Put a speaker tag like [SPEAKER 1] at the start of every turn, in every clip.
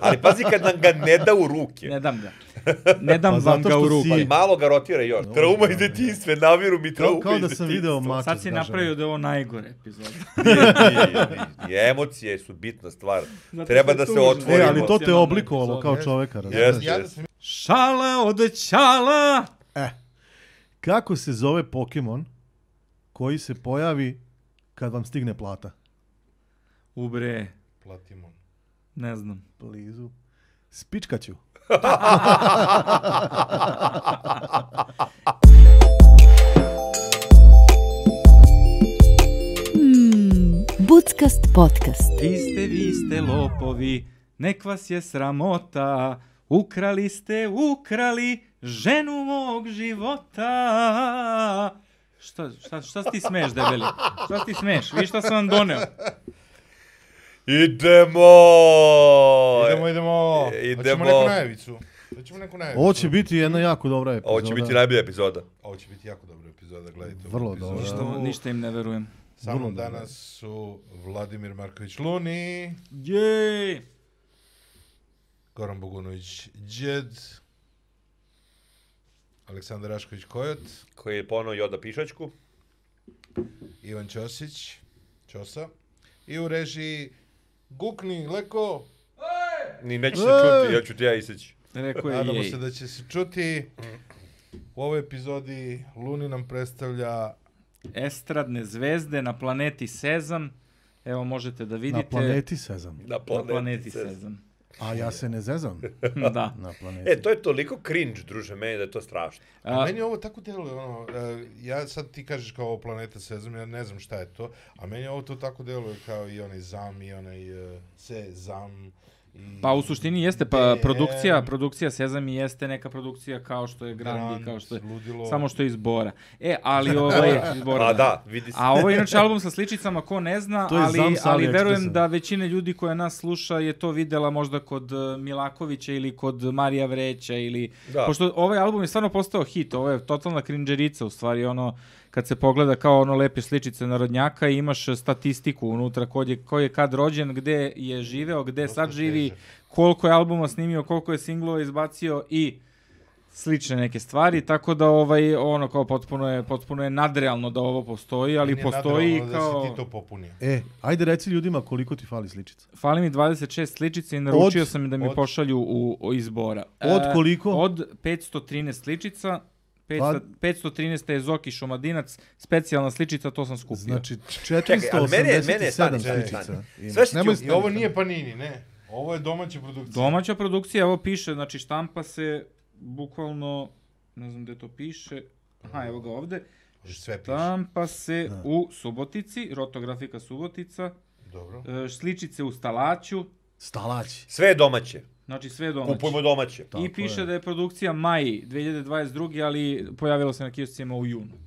[SPEAKER 1] Ali pazi kad nam ga ne da u ruke.
[SPEAKER 2] Ne dam ga. Ne dam
[SPEAKER 3] Pa
[SPEAKER 2] vam
[SPEAKER 3] zato
[SPEAKER 2] ga u
[SPEAKER 3] što
[SPEAKER 2] ruke.
[SPEAKER 3] si-
[SPEAKER 1] Malo ga rotira još.
[SPEAKER 3] Dobro,
[SPEAKER 1] Trauma iz
[SPEAKER 3] dobro.
[SPEAKER 1] detinjstva, naviru mi trauma
[SPEAKER 3] Kao, kao
[SPEAKER 1] iz
[SPEAKER 3] da sam
[SPEAKER 1] detinjstva.
[SPEAKER 3] video ono. maču.
[SPEAKER 2] Sad si napravio da je ovo najgore epizod.
[SPEAKER 1] I, emocije su bitna stvar.
[SPEAKER 2] Zato
[SPEAKER 1] Treba
[SPEAKER 2] što je
[SPEAKER 1] da se
[SPEAKER 2] tužno.
[SPEAKER 3] E,
[SPEAKER 1] otvorimo.
[SPEAKER 3] ali to te
[SPEAKER 2] Emocionalna
[SPEAKER 3] oblikovalo
[SPEAKER 2] epizoda.
[SPEAKER 3] kao čoveka, razumiješ?
[SPEAKER 1] Jeste,
[SPEAKER 4] Ja da
[SPEAKER 1] jeste.
[SPEAKER 4] sam
[SPEAKER 2] Šala od čala!
[SPEAKER 3] Kako se zove Pokemon koji se pojavi kad vam stigne plata?
[SPEAKER 2] Ubre,
[SPEAKER 4] Platimon.
[SPEAKER 2] ne znam.
[SPEAKER 3] Blizu. Spičkaću.
[SPEAKER 5] Mm, Budskast podcast.
[SPEAKER 2] Vi ste, vi ste lopovi, nek vas je sramota. Ukrali ste, ukrali ženu mog života. Šta, šta, šta si ti smeš, debeli? Šta si ti smeš? Vi šta sam vam doneo?
[SPEAKER 1] Idemo!
[SPEAKER 4] Idemo, idemo.
[SPEAKER 1] Idemo.
[SPEAKER 4] Idemo. Hoćemo neku najavicu. Hoćemo neku najavicu.
[SPEAKER 3] Ovo će biti jedna jako dobra epizoda.
[SPEAKER 1] Ovo će biti najbolja epizoda.
[SPEAKER 4] Ovo će biti jako dobra epizoda, gledajte. ovu
[SPEAKER 3] Vrlo
[SPEAKER 4] epizodu.
[SPEAKER 3] dobra.
[SPEAKER 2] Ništa, ništa im ne verujem.
[SPEAKER 4] Sa mnom
[SPEAKER 3] vrlo dobra.
[SPEAKER 4] danas su Vladimir Marković Luni,
[SPEAKER 2] Jej!
[SPEAKER 4] Goran Bogunović Đed, Aleksandar Rašković Kojot,
[SPEAKER 1] Koji je ponovo Joda Pišačku.
[SPEAKER 4] Ivan Ćosić, Ćosa i u režiji Gukni Leko,
[SPEAKER 1] Ni neće se
[SPEAKER 3] Ej!
[SPEAKER 1] čuti, ja ću ti ja iseći.
[SPEAKER 2] Rekao je
[SPEAKER 4] nadamo
[SPEAKER 2] jej.
[SPEAKER 4] se da će se čuti. U ovoj epizodi Luni nam predstavlja
[SPEAKER 2] Estradne zvezde na planeti Sezam. Evo možete da
[SPEAKER 3] Na
[SPEAKER 2] vidite.
[SPEAKER 3] planeti sezam.
[SPEAKER 1] Na
[SPEAKER 2] na
[SPEAKER 1] planeti,
[SPEAKER 2] planeti
[SPEAKER 1] Sezam.
[SPEAKER 2] Sezam.
[SPEAKER 3] A ja se ne zezam
[SPEAKER 2] da.
[SPEAKER 3] na planeti.
[SPEAKER 1] E, to je toliko cringe, druže, meni da je to strašno.
[SPEAKER 2] A,
[SPEAKER 4] Meni ovo tako deluje, ono, e, ja sad ti kažeš kao ovo planeta sezam, ja ne znam šta je to, a meni ovo to tako deluje kao i onaj zam, i onaj e, sezam. I
[SPEAKER 2] Pa u suštini jeste, pa
[SPEAKER 4] DM,
[SPEAKER 2] produkcija, produkcija Sezam i jeste neka produkcija kao što je Grandi,
[SPEAKER 4] Grand,
[SPEAKER 2] kao što je,
[SPEAKER 4] ludilo.
[SPEAKER 2] samo što je iz Bora. E, ali ovaj, iz Bora.
[SPEAKER 1] Pa da, vidi se.
[SPEAKER 2] A ovo je inače album sa sličicama, ko ne zna,
[SPEAKER 3] To je
[SPEAKER 2] ali,
[SPEAKER 3] zam sa
[SPEAKER 2] ali verujem
[SPEAKER 3] AliExpressa.
[SPEAKER 2] da većina ljudi koja nas sluša je to videla možda kod eh, Milakovića ili kod Marija Vreća ili...
[SPEAKER 1] Da.
[SPEAKER 2] Pošto ovaj album je stvarno postao hit, ovo je totalna krinđerica u stvari, ono kad se pogleda kao ono lepe sličice narodnjaka i imaš eh, statistiku unutra ko je, ko je kad rođen, gde je živeo, gde sad živi,
[SPEAKER 4] težak.
[SPEAKER 2] koliko je albuma snimio, koliko je singlova izbacio i slične neke stvari, tako da ovaj ono kao potpuno je potpuno je nadrealno da ovo postoji, ali
[SPEAKER 4] Meni je
[SPEAKER 2] postoji
[SPEAKER 4] nadrealno
[SPEAKER 2] kao
[SPEAKER 4] Da si ti to popunio.
[SPEAKER 3] E, ajde reci ljudima koliko ti fali sličica.
[SPEAKER 2] fali mi 26 sličica i naručio
[SPEAKER 3] Od-
[SPEAKER 2] sam im da mi
[SPEAKER 4] od-
[SPEAKER 2] pošalju u, u izbora. E,
[SPEAKER 3] Od koliko?
[SPEAKER 2] Od 513 sličica. 500,
[SPEAKER 3] Pa-
[SPEAKER 2] 513 je Zoki Šumadinac, specijalna sličica, to sam skupio.
[SPEAKER 3] Znači,
[SPEAKER 1] Čekaj, ali mene je- mene je-
[SPEAKER 3] 487
[SPEAKER 1] stani, stani,
[SPEAKER 3] sličica.
[SPEAKER 1] stani.
[SPEAKER 3] imaš.
[SPEAKER 1] Sve što
[SPEAKER 3] Nemoj
[SPEAKER 1] ću-
[SPEAKER 4] I ovo nije Panini, ne. Ovo je domaća produkcija.
[SPEAKER 2] Domaća produkcija, evo piše, znači štampa se bukvalno, ne znam gde to piše, aha, evo ga ovde,
[SPEAKER 4] Sve piše.
[SPEAKER 2] štampa se u Subotici, rotografika Subotica,
[SPEAKER 4] Dobro.
[SPEAKER 2] e, sličice u Stalaću,
[SPEAKER 3] Stalaći.
[SPEAKER 1] Sve je domaće.
[SPEAKER 2] znači sve je domaće.
[SPEAKER 1] Kupujemo domaće.
[SPEAKER 3] Tako
[SPEAKER 2] I piše
[SPEAKER 3] je.
[SPEAKER 2] da je produkcija maj 2022. ali pojavilo se na kioscima u junu.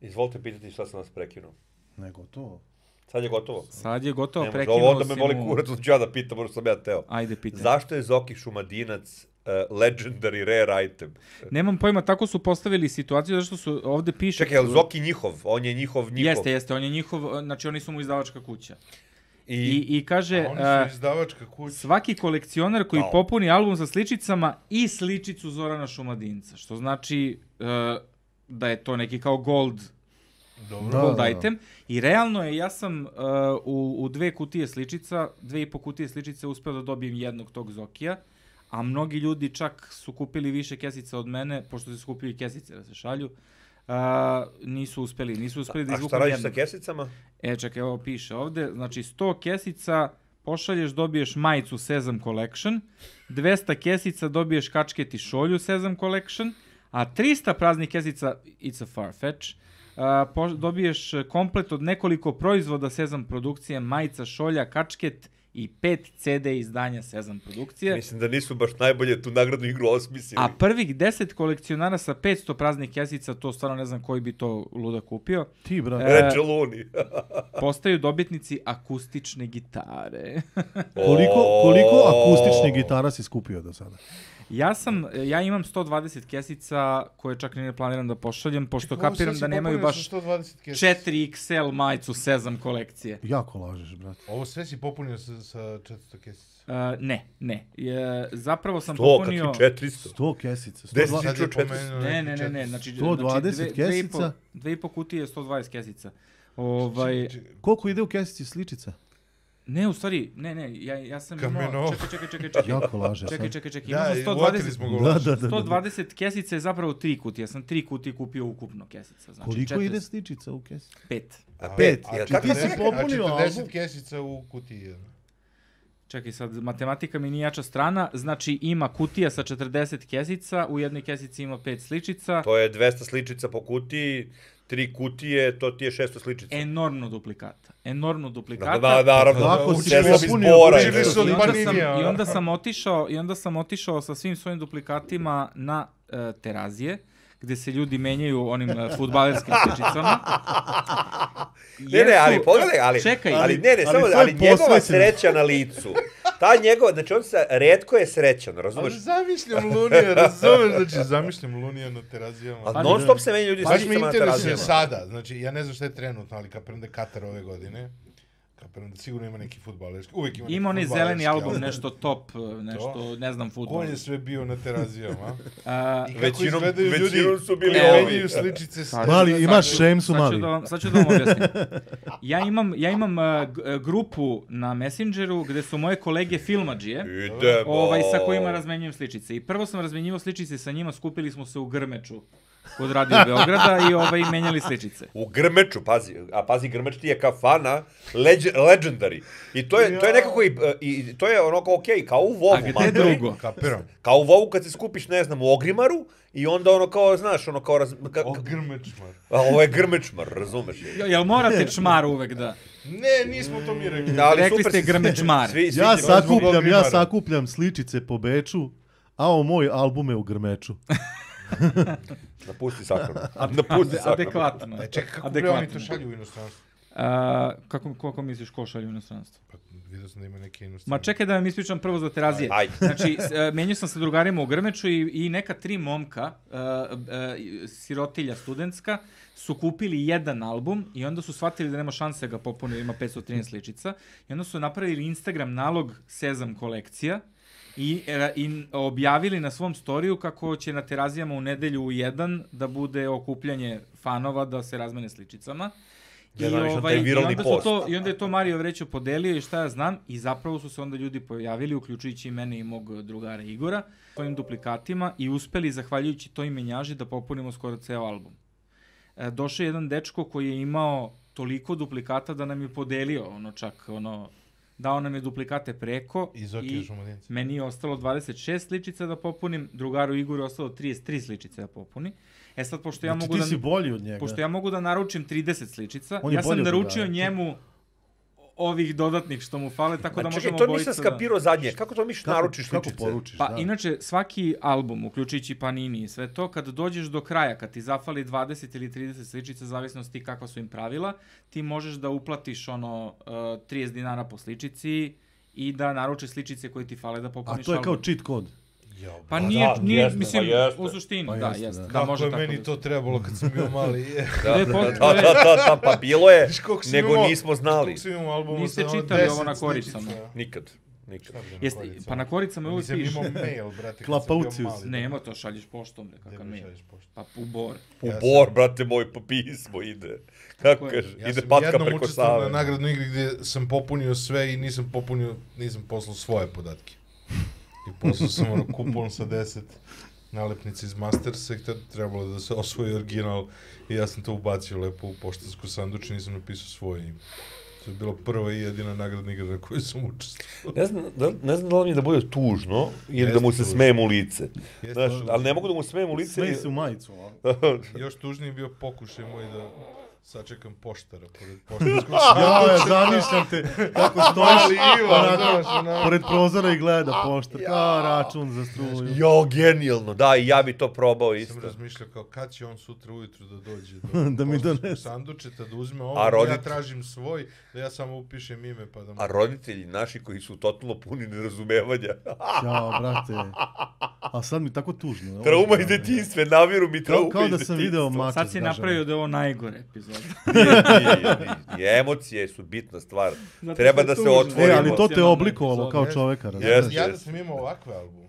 [SPEAKER 1] Izvolite pitati šta sam vas prekinuo.
[SPEAKER 3] Nego to.
[SPEAKER 1] Sad je gotovo.
[SPEAKER 2] Sad je gotovo,
[SPEAKER 1] Ne može,
[SPEAKER 2] prekinuo
[SPEAKER 1] ovo onda me
[SPEAKER 2] si
[SPEAKER 1] boli
[SPEAKER 2] mu-
[SPEAKER 1] kurac, onda ću ja da pitam, ono što sam ja teo.
[SPEAKER 2] Ajde, pitaj.
[SPEAKER 1] Zašto je Zoki Šumadinac uh, legendary rare item?
[SPEAKER 2] Nemam pojma, tako su postavili situaciju, zašto su ovde piše...
[SPEAKER 1] Čekaj, je li Zoki njihov? On je njihov njihov.
[SPEAKER 2] Jeste, jeste, on je njihov, znači oni su mu izdavačka kuća.
[SPEAKER 1] I,
[SPEAKER 2] I, i kaže, e,
[SPEAKER 4] A
[SPEAKER 2] a,
[SPEAKER 4] Oni su izdavačka kuća.
[SPEAKER 2] svaki kolekcionar koji
[SPEAKER 1] Au.
[SPEAKER 2] popuni album sa sličicama i sličicu Zorana Šumadinca, što znači e, da je to neki kao gold
[SPEAKER 4] Dobro.
[SPEAKER 3] Da,
[SPEAKER 2] gold
[SPEAKER 3] da, da.
[SPEAKER 2] item. I realno je, ja sam uh, u, u dve kutije sličica, dve i po kutije sličica uspeo da dobijem jednog tog Zokija, a mnogi ljudi čak su kupili više kesica od mene, pošto su skupili kesice da se šalju, uh, nisu uspeli, nisu uspeli
[SPEAKER 1] a
[SPEAKER 2] da
[SPEAKER 1] šta
[SPEAKER 2] izvuku
[SPEAKER 1] radiš sa
[SPEAKER 2] jednog.
[SPEAKER 1] kesicama?
[SPEAKER 2] E, čekaj, evo piše ovde, znači 100 kesica pošalješ, dobiješ majicu Sezam Collection, 200 kesica dobiješ kačket i šolju Sezam Collection, a 300 praznih kesica It's a Farfetch, a, po, dobiješ komplet od nekoliko proizvoda Sezam produkcije, majica, šolja, kačket i 5 CD izdanja Sezam produkcije.
[SPEAKER 1] Mislim da nisu baš najbolje tu nagradnu igru osmislili.
[SPEAKER 2] A prvih 10 kolekcionara sa 500 praznih kesica, to stvarno ne znam koji bi to luda kupio,
[SPEAKER 3] Ti, brate.
[SPEAKER 2] E,
[SPEAKER 1] Reče Luni.
[SPEAKER 2] postaju dobitnici akustične gitare.
[SPEAKER 3] Koliko, koliko akustičnih gitara si skupio do sada?
[SPEAKER 2] Ja sam, ja imam 120 kesica koje čak ni ne planiram da pošaljem, pošto
[SPEAKER 4] Ovo sad
[SPEAKER 2] kapiram
[SPEAKER 4] si
[SPEAKER 2] da nemaju
[SPEAKER 4] popunio
[SPEAKER 2] baš
[SPEAKER 4] sa 120 kesica.
[SPEAKER 2] 4XL majicu Sezam kolekcije.
[SPEAKER 3] Jako lažeš, brate.
[SPEAKER 4] Ovo sve si popunio sa, sa 400 kesica.
[SPEAKER 2] Uh, ne, ne. Je, zapravo sam
[SPEAKER 1] To, kakvi
[SPEAKER 2] popunio...
[SPEAKER 1] 400.
[SPEAKER 3] 100 kesica.
[SPEAKER 1] Gde si
[SPEAKER 3] 120.
[SPEAKER 1] ti čuo
[SPEAKER 4] je
[SPEAKER 1] 400?
[SPEAKER 4] pomenuo
[SPEAKER 2] Ne,
[SPEAKER 4] neki
[SPEAKER 2] ne, ne, ne,
[SPEAKER 4] 400.
[SPEAKER 2] znači...
[SPEAKER 3] 120
[SPEAKER 2] znači,
[SPEAKER 3] kesica?
[SPEAKER 2] Dve i po kutije, 120 kesica. Ovaj,
[SPEAKER 3] Koliko ide u kesici sličica?
[SPEAKER 2] ne, u stvari, ne, ne, ja, ja sam imao...
[SPEAKER 4] Kameno.
[SPEAKER 2] Čekaj, čekaj, čekaj, čekaj.
[SPEAKER 3] Jako laže
[SPEAKER 2] Čekaj,
[SPEAKER 3] sad.
[SPEAKER 2] čekaj, čekaj, imao
[SPEAKER 4] Da,
[SPEAKER 2] sam
[SPEAKER 4] i uvatili
[SPEAKER 2] 120...
[SPEAKER 4] smo ga u
[SPEAKER 3] Da,
[SPEAKER 4] laž.
[SPEAKER 3] da, da, da, da.
[SPEAKER 2] 120 kesica je zapravo tri kutije. Ja sam tri kutije kupio ukupno kesica. Znači
[SPEAKER 3] Koliko
[SPEAKER 2] 45.
[SPEAKER 3] ide sličica u kesici?
[SPEAKER 2] Pet.
[SPEAKER 1] A pet,
[SPEAKER 4] A
[SPEAKER 1] jel tako?
[SPEAKER 3] ti si
[SPEAKER 4] četrdeset-
[SPEAKER 3] popunio
[SPEAKER 4] a 40
[SPEAKER 3] album?
[SPEAKER 4] kesica u kutiji.
[SPEAKER 2] Čekaj sad, matematika mi nije jača strana. Znači ima kutija sa 40 kesica, u jednoj kesici ima pet sličica.
[SPEAKER 1] To je 200 sličica po kutiji, tri kutije, to ti je 600
[SPEAKER 2] E,
[SPEAKER 1] sličica.
[SPEAKER 2] Enormno duplikata. Enormno
[SPEAKER 1] Da,
[SPEAKER 2] duplikata.
[SPEAKER 1] da, naravno.
[SPEAKER 3] Kako
[SPEAKER 1] da,
[SPEAKER 3] si
[SPEAKER 1] učesam iz
[SPEAKER 3] popunio
[SPEAKER 1] Bora,
[SPEAKER 4] budžet?
[SPEAKER 1] ne
[SPEAKER 4] Učili
[SPEAKER 2] I
[SPEAKER 4] su od
[SPEAKER 1] znam.
[SPEAKER 2] onda, sam,
[SPEAKER 4] Paninija.
[SPEAKER 2] I onda sam otišao, i onda sam otišao sa svim svojim duplikatima na e, terazije, gde se ljudi menjaju onim e, fudbalerskim sličicama.
[SPEAKER 1] Ne, ne, ali pogledaj, ali,
[SPEAKER 2] Čekaj.
[SPEAKER 1] ali ne, ne,
[SPEAKER 3] Ali
[SPEAKER 1] samo,
[SPEAKER 3] to je
[SPEAKER 1] ali njegova
[SPEAKER 3] posvećeno.
[SPEAKER 1] sreća na licu. Ta njegova, znači on se, redko je srećan, razumeš?
[SPEAKER 4] Ali zamišljam Lunija, razumeš? Znači, zamišljam Lunija na terazijama.
[SPEAKER 1] A non stop se menjaju ljudi
[SPEAKER 4] Baš mi
[SPEAKER 1] slicama na
[SPEAKER 4] interesuje
[SPEAKER 1] terazijama.
[SPEAKER 4] sada, znači ja ne znam šta je trenutno, ali kapiram da je Katar ove godine, kapiram da sigurno ima neki futbalerski, uvijek ima neki
[SPEAKER 2] Ima onaj
[SPEAKER 4] fudbalerski
[SPEAKER 2] zeleni album, nešto top, e, nešto,
[SPEAKER 4] To.
[SPEAKER 2] ne znam, futbol. E,
[SPEAKER 4] On je sve bio na terazijama.
[SPEAKER 2] A,
[SPEAKER 4] I kako
[SPEAKER 1] Većinom-
[SPEAKER 4] izgledaju ljudi
[SPEAKER 1] većinom su bili
[SPEAKER 4] koji
[SPEAKER 1] ovi.
[SPEAKER 4] menjaju sličice. sa-
[SPEAKER 3] Mali, imaš šemsu
[SPEAKER 2] Sad ću
[SPEAKER 3] mali.
[SPEAKER 2] da vam, sad ću da vam objasnim. Ja imam, ja imam uh, g- uh, grupu na Messengeru gde su moje kolege filmadžije,
[SPEAKER 1] Idemo.
[SPEAKER 2] ovaj, sa kojima razmenjujem sličice. I prvo sam razmenjivao sličice sa njima, skupili smo se u Grmeču kod Radio Beograda i ovaj, menjali sličice.
[SPEAKER 1] U Grmeču, pazi, a pazi Grmeč ti je kafana leg, legendary. I to je to je nekako i, i to je ono kao okej, okay, kao u
[SPEAKER 2] A
[SPEAKER 1] Vovu,
[SPEAKER 2] gde drugo?
[SPEAKER 4] Kapiram.
[SPEAKER 1] Kao u Vovu kad se skupiš, ne znam, u Ogrimaru i onda ono kao, znaš, ono kao raz, ka,
[SPEAKER 4] O,
[SPEAKER 1] ka,
[SPEAKER 4] grmečmar.
[SPEAKER 1] a ovo je Grmečmar, razumeš?
[SPEAKER 2] Jo, Jel morate čmar uvek da?
[SPEAKER 4] Ne, nismo to mi rekli.
[SPEAKER 1] Da, ali
[SPEAKER 2] Rekli
[SPEAKER 1] super
[SPEAKER 2] ste
[SPEAKER 1] si-
[SPEAKER 2] Grmečmar.
[SPEAKER 1] Svi, svi
[SPEAKER 3] Ja
[SPEAKER 1] ti-
[SPEAKER 3] sakupljam, ja
[SPEAKER 4] Grmara.
[SPEAKER 3] sakupljam sličice po Beču, a o moj album je u Grmeču.
[SPEAKER 1] Napusti sakrano. Napusti
[SPEAKER 2] Ade-
[SPEAKER 1] sakrano.
[SPEAKER 2] Adekvatno.
[SPEAKER 4] E, čekaj, kako bre
[SPEAKER 2] Adekvatno.
[SPEAKER 4] oni to šalju u inostranstvo?
[SPEAKER 2] A, kako, koliko misliš ko šalje u inostranstvo?
[SPEAKER 4] Pa, vidio sam da ima neke inostranstvo.
[SPEAKER 2] Ma čekaj da vam ispričam prvo za terazije.
[SPEAKER 1] Ajde.
[SPEAKER 2] Znači, s- e, menjao sam sa drugarima u Grmeču i, i neka tri momka, e, e, sirotilja studentska, su kupili jedan album i onda su shvatili da nema šanse da ga popune, jer ima 513 sličica. I onda su napravili Instagram nalog Sezam kolekcija i, e, i objavili na svom storiju kako će na terazijama u nedelju u jedan da bude okupljanje fanova da se razmene sličicama. I, ovaj,
[SPEAKER 1] Jedan više taj
[SPEAKER 2] i,
[SPEAKER 1] viralni
[SPEAKER 2] onda su
[SPEAKER 1] post.
[SPEAKER 2] to, I onda je to Mario Vrećo podelio i šta ja znam i zapravo su se onda ljudi pojavili, uključujući i mene i mog drugara Igora, svojim duplikatima i uspeli, zahvaljujući toj menjaži, da popunimo skoro ceo album. E, došao je jedan dečko koji je imao toliko duplikata da nam je podelio, ono čak, ono, dao nam je duplikate preko
[SPEAKER 4] Iz Okija Šumadinca.
[SPEAKER 2] Meni je ostalo 26 sličica da popunim, drugaru Igoru je ostalo 33 sličice da popuni. E sad, pošto ja
[SPEAKER 3] Znači,
[SPEAKER 2] mogu
[SPEAKER 3] ti
[SPEAKER 2] da...
[SPEAKER 3] si bolji od njega.
[SPEAKER 2] Pošto ja mogu da naručim 30 sličica,
[SPEAKER 3] On je
[SPEAKER 2] ja sam
[SPEAKER 3] bolji od
[SPEAKER 2] naručio
[SPEAKER 3] drugara.
[SPEAKER 2] njemu ovih dodatnih što mu fale, tako da
[SPEAKER 1] Ma Pa čekaj,
[SPEAKER 2] možemo
[SPEAKER 1] to
[SPEAKER 2] obojica
[SPEAKER 1] nisam skapirao zadnje. Kako to miš naručiš
[SPEAKER 3] kako
[SPEAKER 1] sličice?
[SPEAKER 3] poručiš,
[SPEAKER 2] Pa
[SPEAKER 3] da.
[SPEAKER 2] inače, svaki album, uključujući Panini i sve to, kad dođeš do kraja, kad ti zafali 20 ili 30 sličica, zavisno od ti kakva su im pravila, ti možeš da uplatiš ono uh, 30 dinara po sličici i da naručiš sličice koje ti fale da
[SPEAKER 3] A
[SPEAKER 2] popuniš
[SPEAKER 3] to je kao
[SPEAKER 2] album.
[SPEAKER 3] cheat kod.
[SPEAKER 4] Jao,
[SPEAKER 2] Pa
[SPEAKER 1] da,
[SPEAKER 2] nije, nije
[SPEAKER 1] jeste,
[SPEAKER 2] mislim,
[SPEAKER 1] pa jeste.
[SPEAKER 2] u suštini,
[SPEAKER 3] Pa
[SPEAKER 2] da,
[SPEAKER 3] jeste,
[SPEAKER 2] jeste, da,
[SPEAKER 3] da.
[SPEAKER 4] Kako
[SPEAKER 2] može
[SPEAKER 4] je
[SPEAKER 2] tako
[SPEAKER 4] meni
[SPEAKER 2] da. pa-
[SPEAKER 4] to trebalo kad sam bio mali? E,
[SPEAKER 1] Da,
[SPEAKER 2] Ne,
[SPEAKER 1] da,
[SPEAKER 2] postoje-
[SPEAKER 1] da, da, da, pa bilo je,
[SPEAKER 4] Viš koliko sam
[SPEAKER 1] nego
[SPEAKER 4] imao-
[SPEAKER 1] nismo znali.
[SPEAKER 4] Koliko sam imao albuma
[SPEAKER 2] Niste
[SPEAKER 4] sa ono
[SPEAKER 2] čitali
[SPEAKER 4] 10
[SPEAKER 2] ovo na koricama.
[SPEAKER 4] sličica.
[SPEAKER 1] Nikad, nikad.
[SPEAKER 2] Jeste, pa na koricama je uvijek
[SPEAKER 4] Nisam
[SPEAKER 2] piše.
[SPEAKER 4] imao mail, brate, kad
[SPEAKER 3] Klapaucius.
[SPEAKER 4] sam bio mali.
[SPEAKER 2] Nema to, šalješ poštom, bre,
[SPEAKER 4] Gde
[SPEAKER 2] kakav
[SPEAKER 4] mi
[SPEAKER 2] mi.
[SPEAKER 4] šalješ poštu?
[SPEAKER 2] Pa u bor.
[SPEAKER 1] U
[SPEAKER 4] Ja
[SPEAKER 1] bor, brate moj, po pismo ide. Kako
[SPEAKER 2] je.
[SPEAKER 1] kaže,
[SPEAKER 4] Ja
[SPEAKER 1] ide
[SPEAKER 4] sam
[SPEAKER 1] patka
[SPEAKER 4] jednom
[SPEAKER 1] preko
[SPEAKER 4] učestvovao
[SPEAKER 1] Save.
[SPEAKER 4] na nagradnoj igri gdje sam popunio sve i nisam popunio, nisam poslao svoje podatke. I poslao sam ono kupon sa 10 nalepnice iz Mastersa i tad trebalo da se osvoji original i ja sam to ubacio lepo u poštansku sanduč i nisam napisao svoje ime. To je bila prva i jedina nagradna igra na kojoj sam učestvovao.
[SPEAKER 1] Ne znam, da, ne znam da li mi je da bude tužno ili da
[SPEAKER 4] Jeste
[SPEAKER 1] mu se
[SPEAKER 4] tužno.
[SPEAKER 1] smejem u lice.
[SPEAKER 4] Jeste
[SPEAKER 1] Znaš,
[SPEAKER 4] tužno.
[SPEAKER 1] ali ne mogu da mu smejem u lice.
[SPEAKER 3] Smej
[SPEAKER 1] jer-
[SPEAKER 3] se u majicu. a?
[SPEAKER 4] Još tužniji je bio pokušaj moj da Sačekam poštara pored poštarskog
[SPEAKER 3] Ja, ja zamišljam te kako stojiš
[SPEAKER 4] sliva,
[SPEAKER 3] onako,
[SPEAKER 4] znaš, onako.
[SPEAKER 3] pored prozora i gleda poštar. Kao račun za struju.
[SPEAKER 1] Jo, genijalno, da, i ja bi to probao
[SPEAKER 4] Sam
[SPEAKER 1] isto.
[SPEAKER 4] razmišljao kao kad će on sutra ujutru da dođe do
[SPEAKER 3] Da mi
[SPEAKER 4] poštanskog
[SPEAKER 3] donese.
[SPEAKER 4] sandučeta, da uzme ovo,
[SPEAKER 1] A
[SPEAKER 4] da ja
[SPEAKER 1] roditelj-
[SPEAKER 4] tražim svoj, da ja samo upišem ime pa da mu...
[SPEAKER 1] A roditelji naši koji su totalno puni nerazumevanja.
[SPEAKER 3] Ja, brate. A sad mi tako tužno.
[SPEAKER 1] Trauma iz detinjstva, namiru mi trauma
[SPEAKER 3] Kao, kao
[SPEAKER 1] iz
[SPEAKER 3] da sam
[SPEAKER 1] detinjstva.
[SPEAKER 3] video mača.
[SPEAKER 2] Sad si
[SPEAKER 3] Znači, znaš, ono. E,
[SPEAKER 2] napravio da je ovo najgore epizoda.
[SPEAKER 1] Nije, nije, nije. Emocije su bitna stvar.
[SPEAKER 2] Zato
[SPEAKER 1] Treba
[SPEAKER 2] što je
[SPEAKER 1] da se
[SPEAKER 2] tužno.
[SPEAKER 3] ono. E,
[SPEAKER 1] otvorimo.
[SPEAKER 3] ali to te oblikovalo kao
[SPEAKER 4] Yes.
[SPEAKER 3] čoveka. razumiješ?
[SPEAKER 1] Jeste,
[SPEAKER 4] ja da
[SPEAKER 1] jeste.
[SPEAKER 4] sam imao ovakve albume,